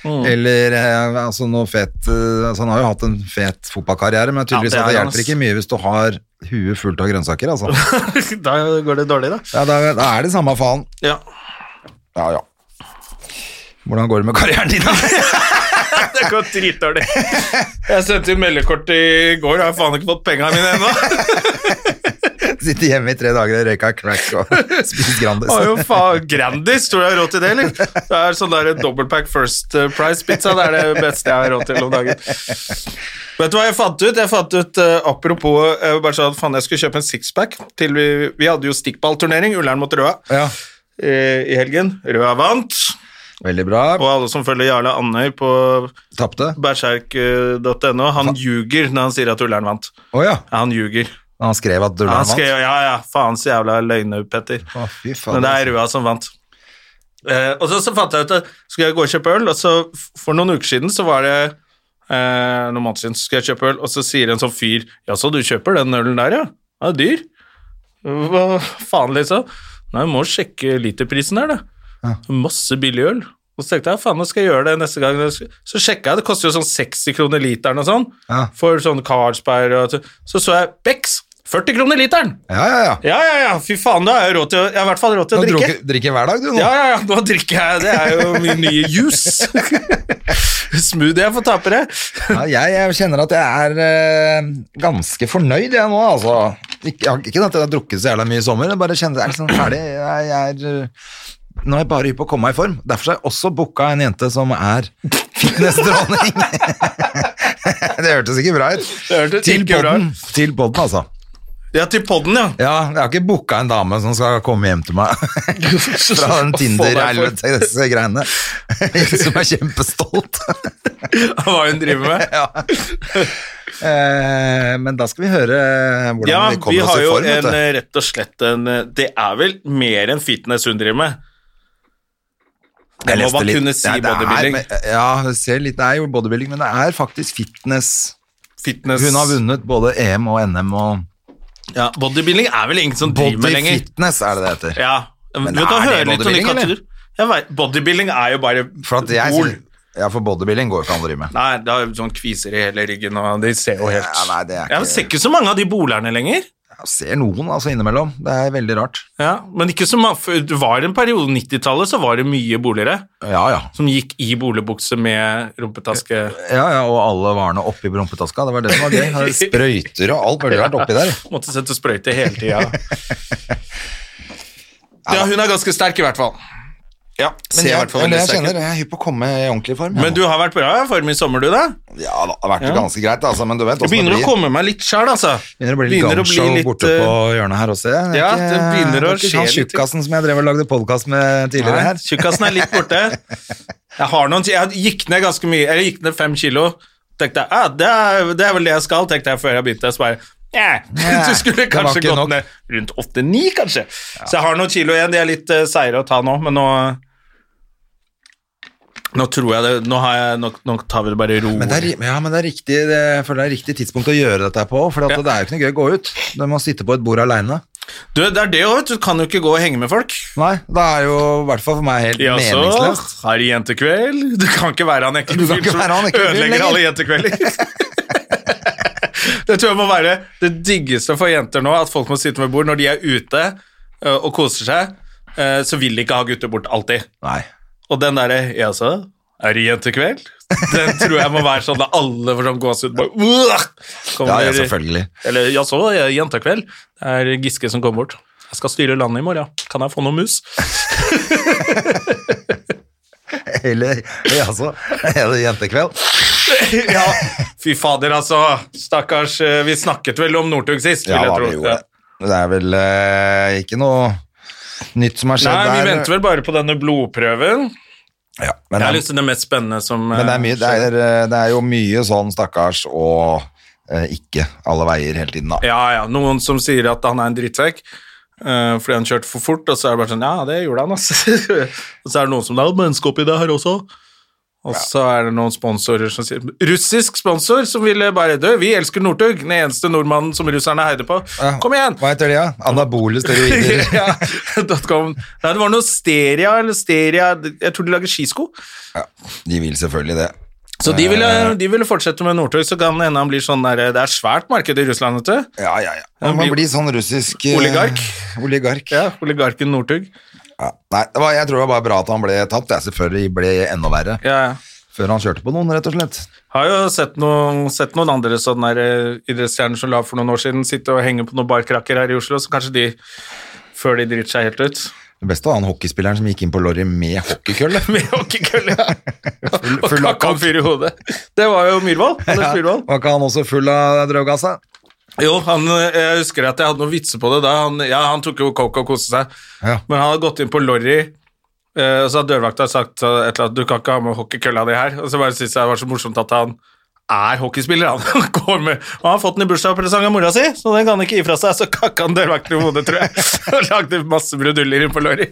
Speaker 2: av- Eller eh, altså noe fet eh, altså Han har jo hatt en fet fotballkarriere, men tydeligvis
Speaker 1: Ja,
Speaker 2: at
Speaker 1: det
Speaker 2: det
Speaker 1: er han,
Speaker 2: hjelper
Speaker 1: ass.
Speaker 2: ikke mye hvis du har huet fullt av grønnsaker, altså.
Speaker 1: da går det dårlig, da.
Speaker 2: Ja, da, da er det samme faen.
Speaker 1: Ja.
Speaker 2: Ja, ja. Hvordan går det med karrieren din?
Speaker 1: Det går dritdårlig. Jeg sendte jo meldekort i går, og jeg har faen ikke fått penga mine ennå.
Speaker 2: Sitte hjemme i tre dager og røyke crack og spise Grandis.
Speaker 1: Har jo faen Grandis, tror jeg har råd til det, eller? Det er sånn der dobbeltpack first eh, price pizza, det er det beste jeg har råd til om dagen. Vet du hva jeg fant ut? Jeg fant ut, eh, apropos, jeg bare sa at faen, jeg skulle kjøpe en sixpack til vi, vi hadde jo stikkballturnering, Ullern mot Røa,
Speaker 2: Ja.
Speaker 1: eh, i helgen. Røa vant.
Speaker 2: Veldig bra.
Speaker 1: Og alle som følger Jarle Andøy på eh,
Speaker 2: Tapte.
Speaker 1: berserk.no, han ljuger når han sier at Ullern vant.
Speaker 2: Å ja.
Speaker 1: Ja, han ljuger.
Speaker 2: Han skrev at
Speaker 1: Ja,
Speaker 2: Dullern
Speaker 1: han
Speaker 2: vant.
Speaker 1: skrev, ja, ja, faens jævla løgner, Petter.
Speaker 2: Å, fy faen. altså.
Speaker 1: Men det er Rua som vant. Eh, og så, så fant jeg ut at skulle jeg gå og kjøpe øl, og så f- for noen uker siden så var det eh, noen måneder siden så skulle jeg kjøpe øl, og så sier en sånn fyr Ja, så du kjøper den ølen der, ja? Den er dyr. Hva faen, liksom? Nei, må sjekke literprisen her, da. Masse billig øl. Og så tenkte jeg faen, nå skal jeg gjøre det neste gang. Så sjekka jeg, det koster jo sånn 60 kroner literen og sånn.
Speaker 2: Ja.
Speaker 1: For sånn Carlsberg og så- Så så jeg Bex, 40 kroner literen!
Speaker 2: Ja, ja, ja.
Speaker 1: Ja, ja, ja, fy faen, da har jeg råd til å Jeg har i hvert fall råd
Speaker 2: Du
Speaker 1: til å drikke.
Speaker 2: drikker, drikker hver dag, du nå.
Speaker 1: Ja, ja, ja, nå drikker jeg, det er jo min nye juice. Smoothie jeg får tapere.
Speaker 2: Ja, jeg, jeg kjenner at jeg er eh, ganske fornøyd jeg nå, altså. Ikke, jeg har- ikke at jeg har drukket så jævla mye i sommer, jeg bare kjenner jeg er liksom ferdig. Jeg, jeg er, eh, nå er jeg bare hypp på å komme meg i form. Derfor har jeg også booka en jente som er fitnessdronning. det hørtes ikke bra ut.
Speaker 1: Det hørtes
Speaker 2: Til
Speaker 1: ikke bra ut.
Speaker 2: podden, Til podden, altså.
Speaker 1: Ja, til podden, ja.
Speaker 2: Ja, jeg har ikke booka en dame som skal komme hjem til meg fra den Tinder-helvete disse greiene. som er kjempestolt.
Speaker 1: Hva hun driver med.
Speaker 2: ja. eh, men da skal vi høre hvordan
Speaker 1: Ja,
Speaker 2: vi
Speaker 1: vi
Speaker 2: kommer
Speaker 1: har
Speaker 2: oss i
Speaker 1: jo
Speaker 2: form.
Speaker 1: en,
Speaker 2: vet du.
Speaker 1: eh, rett og slett en eh, Det er vel mer enn fitness hun driver med. Det
Speaker 2: Jeg
Speaker 1: må
Speaker 2: leste
Speaker 1: man
Speaker 2: litt-
Speaker 1: kunne si
Speaker 2: Nei, det er-
Speaker 1: bodybuilding.
Speaker 2: men- eh, Ja, det ser litt, det er jo bodybuilding, men det er faktisk fitness.
Speaker 1: Fitness
Speaker 2: Hun har vunnet både EM og NM og
Speaker 1: Ja, bodybuilding er vel ingen som driver med lenger.
Speaker 2: Bodyfitness er det det heter.
Speaker 1: Ja. Men
Speaker 2: er
Speaker 1: vi kan
Speaker 2: det
Speaker 1: høre litt om de
Speaker 2: bodybuilding, eller?
Speaker 1: kategorier. Jeg vet, bodybuilding er jo bare
Speaker 2: For at jeg,
Speaker 1: ord.
Speaker 2: ja, for bodybuilding går jo ikke an å drive med.
Speaker 1: Nei, det er jo sånn kviser i hele ryggen, og de ser jo helt
Speaker 2: Ja, nei, det er ikke-
Speaker 1: Jeg ser ikke så mange av de bolerne lenger.
Speaker 2: Jeg ser noen altså innimellom, det er veldig rart.
Speaker 1: Ja, men ikke så mange, for det var en periode, 90-tallet, så var det mye bolere
Speaker 2: Ja, ja.
Speaker 1: som gikk i boligbukse med rumpetaske.
Speaker 2: Ja, ja, og alle varene oppi prompetaska, det var det som var gøy. Her er Sprøyter og alt mulig rart oppi der.
Speaker 1: Måtte sette sprøyte hele tida. Ja, hun er ganske sterk, i hvert fall. Ja, men
Speaker 2: Se,
Speaker 1: jeg er i hvert fall
Speaker 2: eller jeg
Speaker 1: veldig
Speaker 2: kjenner,
Speaker 1: sterk.
Speaker 2: jeg er hypp på å komme i ordentlig form. jeg
Speaker 1: Men
Speaker 2: nå.
Speaker 1: du har vært bra i form i sommer, du, da?
Speaker 2: Ja, det har vært ganske greit, altså, men du vet
Speaker 1: Jeg
Speaker 2: åssen
Speaker 1: begynner
Speaker 2: det
Speaker 1: å
Speaker 2: blir.
Speaker 1: komme meg litt sjæl, altså.
Speaker 2: Begynner å bli litt
Speaker 1: Begynner å bli
Speaker 2: gangshow
Speaker 1: litt,
Speaker 2: borte
Speaker 1: eh,
Speaker 2: på hjørnet her også. Jeg.
Speaker 1: ja,
Speaker 2: ikke-
Speaker 1: det begynner å
Speaker 2: det er ikke
Speaker 1: skje
Speaker 2: han
Speaker 1: litt.
Speaker 2: tjukkasen som jeg drev og lagde podkast med tidligere
Speaker 1: Nei,
Speaker 2: her.
Speaker 1: Tjukkasen er litt borte. Jeg, har noen, jeg gikk ned ganske mye, jeg gikk ned fem kilo. Tenkte jeg, ah, det, er, det er vel det jeg skal, tenkte jeg før jeg begynte. Så bare, «Nja, du
Speaker 2: det
Speaker 1: skulle
Speaker 2: var
Speaker 1: kanskje
Speaker 2: ikke nok.»
Speaker 1: gått ned rundt 8-9, kanskje. Så jeg har noen kilo igjen, de er litt eh, seire å ta nå, men nå... Nå tror jeg det, nå, har jeg, nå, nå tar vi det bare ro.
Speaker 2: Men det, er, ja, men det er riktig det, for det er riktig tidspunkt å gjøre dette her på, for at
Speaker 1: Ja.
Speaker 2: det er jo ikke noe gøy å gå ut. Du må sitte på et bord aleine.
Speaker 1: Du, det er det jo, vet du Du kan jo ikke gå og henge med folk.
Speaker 2: Nei, det er jo i hvert fall for meg helt
Speaker 1: Ja, så
Speaker 2: meningsløst.
Speaker 1: har de jentekveld. Du kan ikke være han ekle
Speaker 2: Du kan
Speaker 1: fyren
Speaker 2: ikke
Speaker 1: som
Speaker 2: være han ekle fyren
Speaker 1: ødelegger
Speaker 2: lenger.
Speaker 1: alle jentekvelder. det tror jeg må være det diggeste for jenter nå, at folk må sitte ved bord når de er ute ø, og koser seg. ø, Så vil de ikke ha gutter bort alltid.
Speaker 2: Nei.
Speaker 1: Og den derre Ja, så er det jentekveld? Den tror jeg må være sånn at alle får sånn gåsehud. bare, «Uah!»
Speaker 2: Ja,
Speaker 1: Kommer-
Speaker 2: ja, selvfølgelig.
Speaker 1: Eller ja, så er det jentekveld. Det er Giske som kommer bort. Jeg skal styre landet i morgen. Kan jeg få noe mus?
Speaker 2: Eller ja, så er det jentekveld.
Speaker 1: ja, fy fader, altså. Stakkars. eh, Vi snakket vel om Northug sist, vil
Speaker 2: Ja,
Speaker 1: jeg
Speaker 2: da,
Speaker 1: tro.
Speaker 2: vi gjorde det. Det er vel eh, ikke noe nytt som har skjedd
Speaker 1: Nei, vi
Speaker 2: der.
Speaker 1: venter vel bare på denne blodprøven.
Speaker 2: Ja, men
Speaker 1: Det er
Speaker 2: han-
Speaker 1: liksom det mest spennende som eh,
Speaker 2: Men det er, mye, det, er, det er jo mye sånn stakkars og eh, ikke alle veier hele tiden, da.
Speaker 1: Ja, ja. Noen som sier at han er en drittsekk eh, fordi han kjørte for fort, og så er det bare sånn Ja, det gjorde han, altså. og så er det noen som Det er et menneske oppi det her også. Og så er det noen sponsorer som sier Russisk sponsor som ville bare dø. Vi elsker Northug. Den eneste nordmannen som russerne heide på. Kom igjen!
Speaker 2: Hva heter de, da? Anabole steroider.
Speaker 1: ja, .com. Nei, det var noe Steria eller Steria Jeg tror de lager skisko.
Speaker 2: De vil selvfølgelig det.
Speaker 1: Så de ville, de ville fortsette med Northug, så kan det hende han blir sånn der Det er svært marked i Russland, vet du.
Speaker 2: Ja, ja, ja. Man må
Speaker 1: blir-
Speaker 2: bli sånn russisk eh,
Speaker 1: Oligark.
Speaker 2: oligark.
Speaker 1: Ja, Oligarken Northug.
Speaker 2: Ja. Nei, det var, jeg tror det var bare bra at han ble tatt. Det er selvfølgelig ble enda verre
Speaker 1: Ja, ja.
Speaker 2: før han kjørte på noen, rett og slett.
Speaker 1: Har jo sett noen, sett noen andre sånne der, eh, idrettsstjerner som la for noen år siden, sitte og henge på noen barkrakker her i Oslo, så kanskje de før de driter seg helt ut.
Speaker 2: Det beste var han hockeyspilleren som gikk inn på Lorry med hockeykølle.
Speaker 1: Med hockeykølle
Speaker 2: Full,
Speaker 1: og
Speaker 2: full av
Speaker 1: kakka en fyr i hodet. Det var jo Myhrvold. Anders Myhrvold.
Speaker 2: Var ikke han også full av drøvgass? da?
Speaker 1: Jo, han, eh, jeg husker at jeg hadde noen vitser på det da. Han, ja, han tok jo coke og koste seg.
Speaker 2: Ja.
Speaker 1: Men han hadde gått inn på Lorry Eh, og så har dørvakta sagt eh, et eller annet, du kan ikke ha med hockeykølla di her. Og så bare synes jeg det var så morsomt at han er hockeyspiller. Han, Han går med, han har fått den i bursdagspresang av mora si, så den kan han ikke gi fra seg. Så kakka han dørvakten i hodet, tror jeg. Og lagde masse bruduljer inn på Lorry.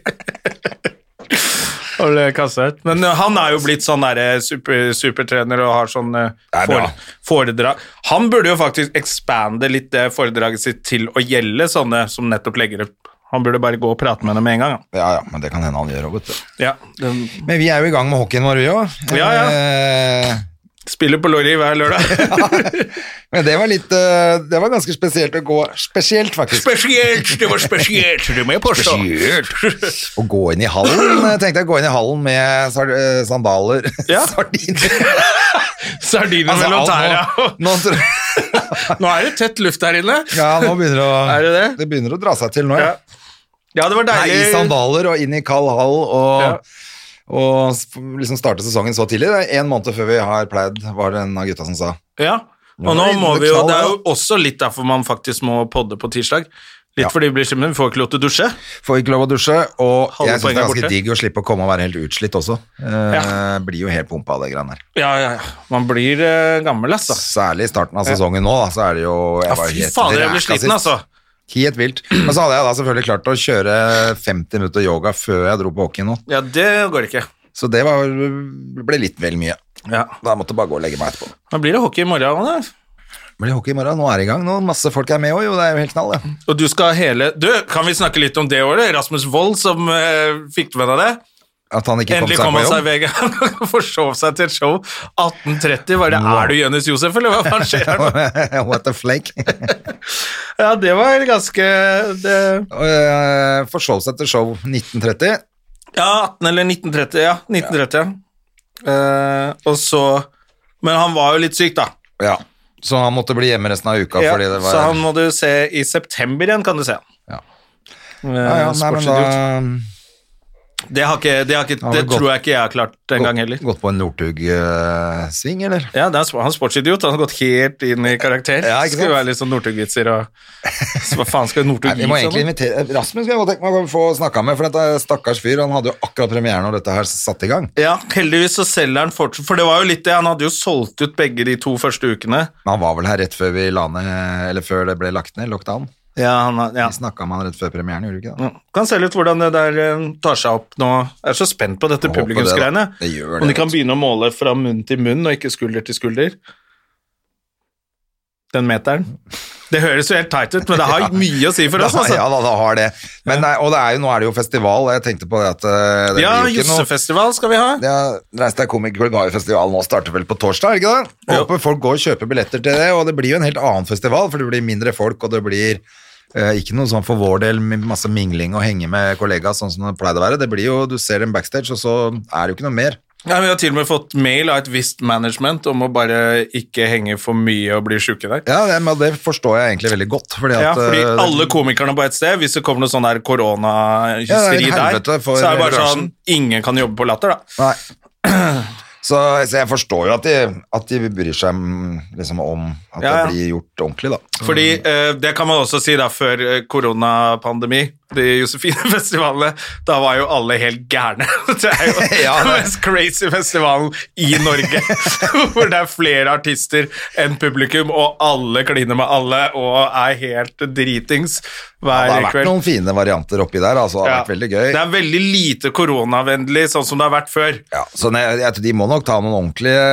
Speaker 1: Og ble kastet ut. Men eh, han er jo blitt sånn derre super, supertrener og har sånn eh,
Speaker 2: Det er bra.
Speaker 1: fore, foredrag Han burde jo faktisk expande litt det foredraget sitt til å gjelde sånne som nettopp legger opp. Han burde bare gå og prate med dem med en gang.
Speaker 2: Ja, ja, men det kan hende han gjør òg, vet du.
Speaker 1: Ja, den
Speaker 2: Men vi er jo i gang med hockeyen vår, vi òg.
Speaker 1: Ja, ja.
Speaker 2: Eh,
Speaker 1: Spiller på Lorry hver lørdag.
Speaker 2: men det var litt eh, Det var ganske spesielt å gå Spesielt, faktisk.
Speaker 1: spesielt! Det var spesielt, det må jeg påstå.
Speaker 2: Å gå inn i hallen. Jeg tenkte å gå inn i hallen med sar eh, sandaler.
Speaker 1: Ja.
Speaker 2: Sardiner.
Speaker 1: Sardiner
Speaker 2: Altså,
Speaker 1: mellom tæra.
Speaker 2: alt nå, nå, tror jeg-
Speaker 1: Nå er det tett luft her inne.
Speaker 2: ja, nå begynner det å
Speaker 1: Er det det?
Speaker 2: begynner å dra seg til nå, ja.
Speaker 1: Ja, ja det var
Speaker 2: Nei, I
Speaker 1: deilig.
Speaker 2: sandaler og inn i kald hall og,
Speaker 1: Ja.
Speaker 2: og s- liksom starte sesongen så tidlig. Det er En måned før vi har pleid, var det en av gutta som sa.
Speaker 1: Ja. Og nå må vi jo, Det er jo også litt derfor man faktisk må podde på tirsdag. Litt
Speaker 2: Ja.
Speaker 1: fordi vi blir skimmet, vi får ikke lov til å dusje.
Speaker 2: Får ikke lov å dusje, og
Speaker 1: Halve
Speaker 2: jeg syns det
Speaker 1: poenget
Speaker 2: er
Speaker 1: er
Speaker 2: ganske
Speaker 1: borte.
Speaker 2: digg å slippe å komme og være helt utslitt også. Eh,
Speaker 1: Ja.
Speaker 2: Blir jo helt pumpa av det greiene der.
Speaker 1: Ja, ja, ja. Man blir eh, gammel, ass. da.
Speaker 2: Særlig i starten av sesongen nå, da, så er det jo
Speaker 1: Ja,
Speaker 2: jeg var
Speaker 1: fy
Speaker 2: helt
Speaker 1: fader, jeg blir
Speaker 2: ræka
Speaker 1: sliten,
Speaker 2: sist.
Speaker 1: altså.
Speaker 2: Helt vilt. Men så hadde jeg da selvfølgelig klart å kjøre 50 minutter yoga før jeg dro på hockey nå,
Speaker 1: Ja, det går ikke.
Speaker 2: så det var, ble litt vel mye.
Speaker 1: Ja.
Speaker 2: Da måtte jeg bare gå og legge meg etterpå.
Speaker 1: Da blir det hockey i morgen. Anne.
Speaker 2: Blir hockey i morgen, nå er det i gang. Nå masse folk er med òg, jo. Det er jo helt knall, det.
Speaker 1: Og du skal hele Du, kan vi snakke litt om det året? Rasmus Wold som eh, fikk med deg det?
Speaker 2: At han ikke
Speaker 1: Endelig
Speaker 2: kom
Speaker 1: kom han
Speaker 2: seg
Speaker 1: seg
Speaker 2: på jobb.
Speaker 1: i VG. Forsov seg til et show 1830. Var det Er du Jonis Josef, eller hva faen skjer her nå?
Speaker 2: What the flake.
Speaker 1: Ja, det var ganske det,
Speaker 2: Eh, Forsov seg til show 1930.
Speaker 1: Ja, 18 eller 1930. Ja, 1930. Ja. Eh, og så Men han var jo litt syk, da.
Speaker 2: Ja. Så han måtte bli hjemme resten av uka
Speaker 1: Ja,
Speaker 2: fordi det var
Speaker 1: Så han må du se i september igjen, kan du se.
Speaker 2: Ja. ja, ja,
Speaker 1: Eh,
Speaker 2: nei, men da
Speaker 1: sportsidiot. Det, har ikke, det, har ikke,
Speaker 2: har
Speaker 1: det
Speaker 2: vel gått-
Speaker 1: tror jeg ikke jeg har klart en gang heller.
Speaker 2: gått, gått på en Northug-sving, eller?
Speaker 1: Ja, det er, sp- han er sportsidiot. Han har gått helt inn i karakter.
Speaker 2: Ja, ikke sant?
Speaker 1: Skulle være litt sånn Northug-vitser og så Hva faen skal
Speaker 2: Nei,
Speaker 1: Northug
Speaker 2: vi
Speaker 1: gi
Speaker 2: må
Speaker 1: for
Speaker 2: egentlig
Speaker 1: noe?
Speaker 2: invitere Rasmus skulle jeg godt tenke meg å få snakka med, for dette stakkars fyr, han hadde jo akkurat premiere når dette her satte i gang.
Speaker 1: Ja, heldigvis så selger han fortsatt For det var jo litt det, han hadde jo solgt ut begge de to første ukene.
Speaker 2: Men han var vel her rett før vi la ned, eller før det ble lagt ned, lockdown.
Speaker 1: Ja, han har- ja.
Speaker 2: Vi snakka med han rett før premieren, gjorde vi ikke det?
Speaker 1: Ja. Mm. Kan se litt hvordan det der eh, tar seg opp nå. Jeg er så spent på dette
Speaker 2: Håper det, da.
Speaker 1: publikumsgreiene.
Speaker 2: Det gjør det, altså.
Speaker 1: Om de
Speaker 2: vet
Speaker 1: kan
Speaker 2: du.
Speaker 1: begynne å måle fra munn til munn og ikke skulder til skulder. Den meteren. Det høres jo helt teit ut, men det har mye å si for oss,
Speaker 2: Da-
Speaker 1: altså.
Speaker 2: Ja da, da har det. Men, nei, og det er jo, nå er det jo festival, og jeg tenkte på det at eh, det
Speaker 1: Ja,
Speaker 2: blir jo ikke noe-
Speaker 1: Jossefestival skal vi ha.
Speaker 2: Ja, reiste jeg komikerklubb har jo festival nå, starter vel på torsdag, er det ikke det?
Speaker 1: Jo.
Speaker 2: Håper folk går og kjøper billetter til det, og det blir jo en helt annen festival, for det blir mindre folk, og det blir eh, ikke noe sånn for vår del, med masse mingling og henge med kollegaer, sånn som det pleide å være. Det blir jo, du ser dem backstage, og så er det jo ikke noe mer.
Speaker 1: Ja, vi har til og med fått mail av et visst management om å bare ikke henge for mye og bli sjuke der.
Speaker 2: Ja, det, men det forstår jeg egentlig veldig godt, fordi at...
Speaker 1: Ja, fordi
Speaker 2: eh, det-
Speaker 1: alle komikerne på et sted, hvis det kommer noe sånn
Speaker 2: Ja,
Speaker 1: der
Speaker 2: det er et
Speaker 1: koronahysteri der,
Speaker 2: helvete
Speaker 1: så
Speaker 2: for
Speaker 1: er det bare
Speaker 2: bransjen.
Speaker 1: sånn Ingen kan jobbe på latter, da.
Speaker 2: Nei. Så, så jeg forstår jo at de, at de bryr seg mm, liksom, om at
Speaker 1: Ja, ja.
Speaker 2: det blir gjort ordentlig, da.
Speaker 1: Fordi eh, det kan man også si da før eh, koronapandemi, de Josefine-festivalene, da var jo alle helt gærne. Det er jo
Speaker 2: Ja,
Speaker 1: den
Speaker 2: det-
Speaker 1: mest crazy festivalen i Norge, hvor det er flere artister enn publikum, og alle kliner med alle og er helt dritings
Speaker 2: Det
Speaker 1: hver
Speaker 2: har vært
Speaker 1: kveld.
Speaker 2: noen fine varianter oppi der, altså. Det har
Speaker 1: Ja.
Speaker 2: vært veldig gøy.
Speaker 1: Det er veldig lite koronavennlig, sånn som det har vært før.
Speaker 2: Ja, så ne, jeg, tror de må nok ta noen ordentlige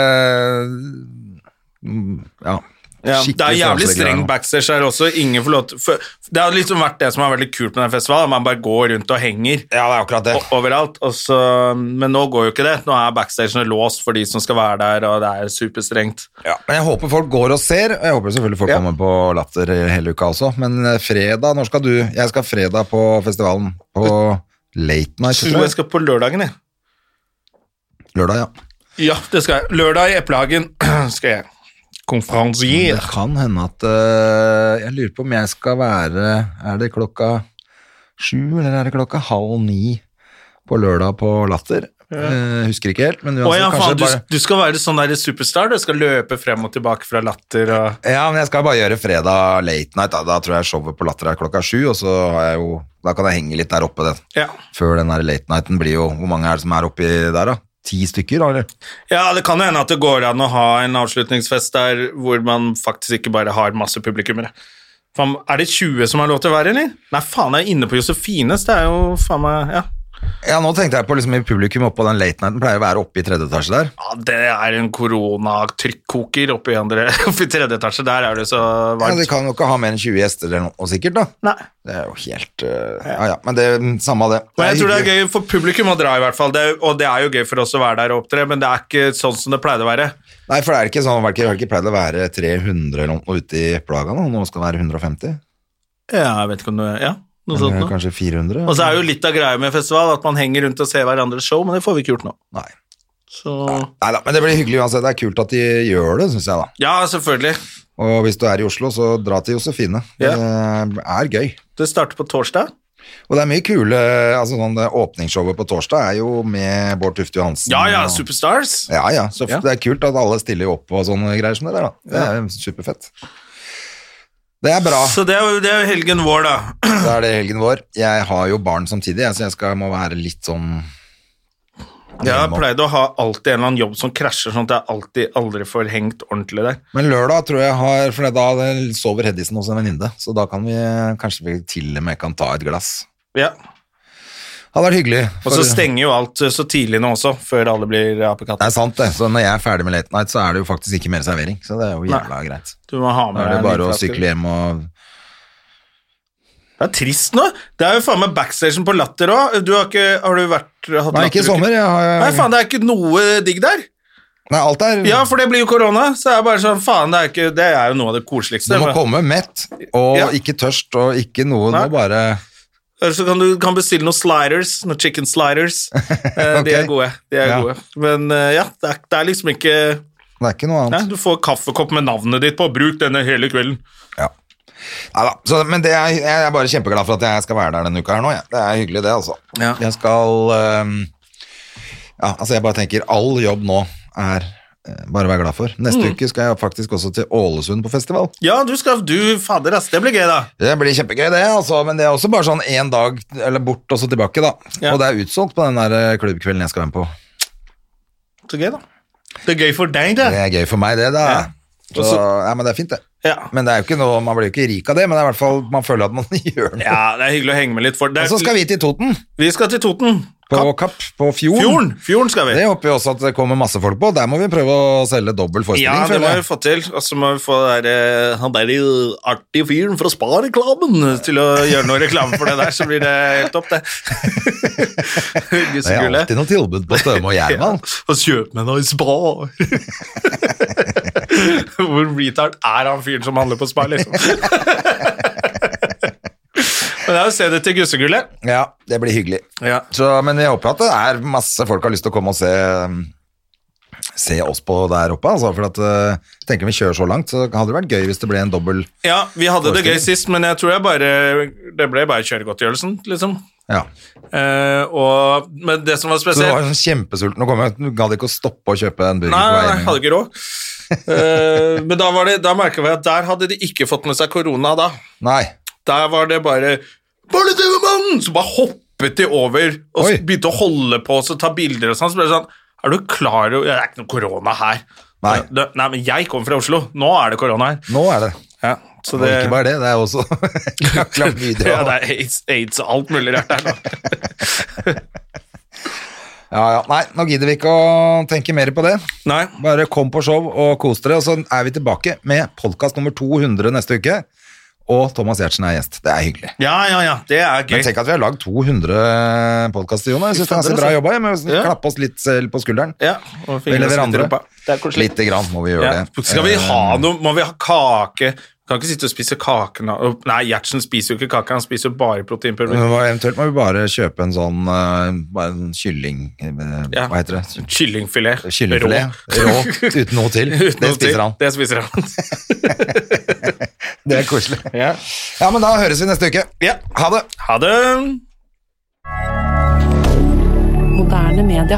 Speaker 2: mm, Ja.
Speaker 1: Ja, det er jævlig
Speaker 2: forholdsregler
Speaker 1: streng
Speaker 2: nå.
Speaker 1: backstage her også. Ingen får lov til for, Det har liksom vært det som er veldig kult med den festivalen, at man bare går rundt og henger
Speaker 2: Ja, det er akkurat det.
Speaker 1: o- overalt. Og så, men nå går jo ikke det. Nå er backstagene låst for de som skal være der, og det er superstrengt.
Speaker 2: Ja, men jeg håper folk går og ser, og jeg håper selvfølgelig folk
Speaker 1: Ja.
Speaker 2: kommer på Latter hele uka også. Men eh, fredag, når skal du? Jeg skal fredag på festivalen. På Late Night,
Speaker 1: Tror
Speaker 2: tror
Speaker 1: jeg
Speaker 2: jeg.
Speaker 1: skal på lørdagen, jeg.
Speaker 2: Lørdag, ja.
Speaker 1: Ja, det skal jeg. Lørdag i Eplehagen skal jeg.
Speaker 2: Det
Speaker 1: Konferansier.
Speaker 2: kan hende at eh, Jeg lurer på om jeg skal være Er det klokka sju, eller er det klokka halv ni på lørdag på Latter? Eh, husker ikke helt, men
Speaker 1: Å
Speaker 2: uansett,
Speaker 1: ja,
Speaker 2: kanskje
Speaker 1: faen, du,
Speaker 2: bare
Speaker 1: du skal være sånn der superstar. Du skal løpe frem og tilbake fra latter og
Speaker 2: Ja, men jeg skal bare gjøre fredag late night. Da, da tror jeg showet på Latter er klokka sju, og så har jeg jo Da kan jeg henge litt der oppe, det.
Speaker 1: Ja,
Speaker 2: Før den der late nighten blir jo Hvor mange er det som er oppi der, da? Ti stykker, da, eller?
Speaker 1: ja det kan jo hende at det går an å ha en avslutningsfest der hvor man faktisk ikke bare har masse publikummere. Faen, er det 20 som har lov til å være, eller? Nei, faen, jeg er inne på Josefines. Det er jo faen meg Ja,
Speaker 2: Ja, nå tenkte jeg på liksom i publikum oppå den late nighten pleier å være oppe i tredje etasje der.
Speaker 1: ja det er en koronatrykkoker oppe i, andre, oppe i tredje etasje. Der er det så
Speaker 2: Ja, de
Speaker 1: varmt.
Speaker 2: kan jo ikke ha mer enn 20 gjester eller noe, sikkert, da.
Speaker 1: Nei.
Speaker 2: Det er jo helt eh, Ja ja, men det samme av det.
Speaker 1: Men jeg tror det
Speaker 2: hyggelig.
Speaker 1: er gøy for publikum å dra, i hvert fall. Det, og det er jo gøy for oss å være der og opptre, men det er ikke sånn som det pleide å være.
Speaker 2: Nei, for det er ikke sånn, det har ikke pleid å være 300 eller noe ute i plaga nå, nå skal det være 150.
Speaker 1: Ja, jeg vet ikke om det Ja, noe sånt
Speaker 2: Eller
Speaker 1: noe.
Speaker 2: kanskje 400.
Speaker 1: Og så er jo litt av greia med festival at man henger rundt og ser hverandres show, men det får vi ikke gjort nå.
Speaker 2: Nei.
Speaker 1: Så
Speaker 2: Neida, men det blir hyggelig uansett. Det er kult at de gjør det, syns jeg, da.
Speaker 1: Ja, selvfølgelig.
Speaker 2: Og hvis du er i Oslo, så dra til Josefine. Det er gøy.
Speaker 1: Det starter på torsdag.
Speaker 2: Og det er mye kule altså sånn det Åpningsshowet på torsdag er jo med Bård Tufte Johansen.
Speaker 1: Ja ja,
Speaker 2: og-
Speaker 1: Superstars.
Speaker 2: Ja, ja. Så
Speaker 1: Ja.
Speaker 2: det er kult at alle stiller jo opp og sånne greier som det der, da. Det er superfett. Det er bra.
Speaker 1: Så det er, jo, det er jo helgen vår, da.
Speaker 2: Da er det helgen vår. Jeg har jo barn samtidig, jeg, så jeg skal, må være litt sånn
Speaker 1: Jeg har pleid å ha alltid en eller annen jobb som krasjer, sånn at jeg alltid aldri får hengt ordentlig der.
Speaker 2: Men lørdag tror jeg har For da sover Hedisen hos en venninne, så da kan vi kanskje vi til og med kan ta et glass.
Speaker 1: Ja.
Speaker 2: Det hadde vært hyggelig.
Speaker 1: Og
Speaker 2: for-
Speaker 1: så stenger jo alt eh, så tidlig nå også, før alle blir
Speaker 2: Det
Speaker 1: apekatter.
Speaker 2: er sant, det. Så når jeg er ferdig med Late Night, så er det jo faktisk ikke mer servering. Så det er jo jævla greit.
Speaker 1: Du må ha
Speaker 2: Da
Speaker 1: med
Speaker 2: er det
Speaker 1: deg en
Speaker 2: bare å
Speaker 1: ølflaske.
Speaker 2: sykle hjem og
Speaker 1: Det er trist nå. Det er jo faen meg backstation på Latter òg. Du har ikke Har du vært hatt
Speaker 2: Nei, ikke i
Speaker 1: latteruke?
Speaker 2: sommer. Jeg
Speaker 1: Nei,
Speaker 2: har...
Speaker 1: faen, det er ikke noe digg der.
Speaker 2: Nei, alt er
Speaker 1: Ja, for det blir jo korona, så det er bare sånn Faen, det er, ikke, det er jo noe av det
Speaker 2: Du
Speaker 1: koseligste.
Speaker 2: må komme mett og
Speaker 1: Ja.
Speaker 2: ikke tørst og ikke noe. Du
Speaker 1: Nei.
Speaker 2: må bare
Speaker 1: Eller så kan du kan bestille noen sliders, noen chicken sliders. Eh, De
Speaker 2: Ok.
Speaker 1: er gode. De er
Speaker 2: Ja.
Speaker 1: gode. Men eh, ja, det er, det er liksom ikke
Speaker 2: Det er ikke noe
Speaker 1: Nei,
Speaker 2: annet.
Speaker 1: Du får kaffekopp med navnet ditt på. Bruk denne hele kvelden.
Speaker 2: Ja. Neida, Så, men det er, jeg er bare kjempeglad for at jeg skal være der denne uka her nå. jeg. Det er hyggelig, det, altså.
Speaker 1: Ja.
Speaker 2: Jeg skal ehm, Ja, altså, jeg bare tenker all jobb nå er eh, bare å være glad for.
Speaker 1: Mm.
Speaker 2: Neste uke skal jeg faktisk også til Ålesund på festival.
Speaker 1: Ja, du skal Du, fader, ass. Det blir gøy, da.
Speaker 2: Det blir kjempegøy, det, altså. Men det er også bare sånn én dag eller bort, og så tilbake, da.
Speaker 1: Ja.
Speaker 2: Og det er utsolgt på den der eh, klubbkvelden jeg skal være med på.
Speaker 1: Så gøy, da. Det er gøy for deg, det.
Speaker 2: Det er gøy for meg, det, da.
Speaker 1: Ja.
Speaker 2: Så,
Speaker 1: Og så-
Speaker 2: ja, men det er fint, det.
Speaker 1: Ja.
Speaker 2: Men det er jo ikke noe, man blir jo ikke rik av det, men det er i hvert fall, man føler at man gjør noe.
Speaker 1: ja, det er hyggelig å henge med litt for det.
Speaker 2: Og så skal vi til Toten,
Speaker 1: Vi skal til Toten.
Speaker 2: på
Speaker 1: Kapp.
Speaker 2: Kapp, på Fjorden.
Speaker 1: Fjorden. Fjorden skal vi.
Speaker 2: Det håper vi også at det kommer masse folk på. Der må vi prøve å selge dobbel
Speaker 1: Ja,
Speaker 2: forestilling,
Speaker 1: det må
Speaker 2: føler
Speaker 1: vi
Speaker 2: jeg.
Speaker 1: få til. Og så må vi få det der, eh, han der i artige fyren fra Spa-reklamen til å gjøre noe reklame for det der, så blir det helt topp, det.
Speaker 2: Det er
Speaker 1: Gussegullet.
Speaker 2: alltid noe tilbud på Støme og Gjermann.
Speaker 1: Og kjøp meg noe i Spa. Hvor retard er han fyren som handler på Spa, liksom? Men det er jo å se det til gussegullet.
Speaker 2: Ja, det blir hyggelig.
Speaker 1: Ja.
Speaker 2: Så, men jeg håper at det er masse folk har lyst til å komme og se, se oss på der oppe, altså. For at, eh, jeg tenker vi kjører så langt, så hadde det vært gøy hvis det ble en dobbel.
Speaker 1: Ja, vi hadde det gøy
Speaker 2: Forestilling.
Speaker 1: sist, men jeg tror jeg bare Det ble bare kjøregodtgjørelsen, liksom.
Speaker 2: Ja.
Speaker 1: Eh, og, men det som var
Speaker 2: Så du
Speaker 1: spesielt
Speaker 2: var jo sånn kjempesulten og kom, ut. du gadd ikke å stoppe og kjøpe en burger
Speaker 1: Nei,
Speaker 2: på
Speaker 1: nei,
Speaker 2: vei
Speaker 1: nei,
Speaker 2: hjem.
Speaker 1: hadde ikke råd. Eh, men da, var det- da merka vi at der hadde de ikke fått med seg korona da.
Speaker 2: Nei.
Speaker 1: Der var det bare Bare det var mannen! Så bare hoppet de over og
Speaker 2: Oi.
Speaker 1: begynte å holde på oss og ta bilder og sånn. Så ble det sånn Er du klar over Det er ikke noe korona her.
Speaker 2: Nei.
Speaker 1: Det, nei, men jeg kommer fra Oslo. Nå er det korona her.
Speaker 2: Nå er det.
Speaker 1: Ja, så
Speaker 2: Og
Speaker 1: det,
Speaker 2: ikke bare det, det er også klamydia.
Speaker 1: ja, det er aids, aids og alt mulig rart der nå.
Speaker 2: ja, ja. Nei, nå gidder vi ikke å tenke mer på det.
Speaker 1: Nei.
Speaker 2: Bare kom på show og kos dere, og så er vi tilbake med podkast nummer 200 neste uke. Og Thomas Giertsen er gjest. Det er hyggelig.
Speaker 1: Ja, ja, ja. Det er gøy.
Speaker 2: Men tenk at vi har lagd 200 podkaster, Jon. Jeg syns det er ganske bra jobba. Jeg må
Speaker 1: altså. Ja.
Speaker 2: klappe oss litt selv på skulderen.
Speaker 1: Ja, og
Speaker 2: Eller
Speaker 1: fingrene som sitter i
Speaker 2: hverandre.
Speaker 1: rumpa. Det er koselig.
Speaker 2: Lite grann må vi gjøre
Speaker 1: Ja.
Speaker 2: det.
Speaker 1: Skal vi
Speaker 2: Eh,
Speaker 1: ha noe Må vi ha kake? Vi kan ikke sitte og spise kake nå. Nei, Gjertsen spiser jo ikke kake, han spiser jo bare proteinpulver.
Speaker 2: men Eh, hva- Eventuelt må vi bare kjøpe en sånn eh, bare en kylling... eh,
Speaker 1: Ja.
Speaker 2: Hva heter det?
Speaker 1: Kyllingfilet.
Speaker 2: Kyllingfilet.
Speaker 1: Rå.
Speaker 2: Rå. Uten noe til.
Speaker 1: Uten
Speaker 2: det
Speaker 1: noe til.
Speaker 2: spiser han.
Speaker 1: Det spiser han.
Speaker 2: Det er koselig.
Speaker 1: ja.
Speaker 2: Ja, men da høres vi neste uke.
Speaker 1: Ja.
Speaker 2: Ha det.
Speaker 1: Ha det.
Speaker 3: Moderne media.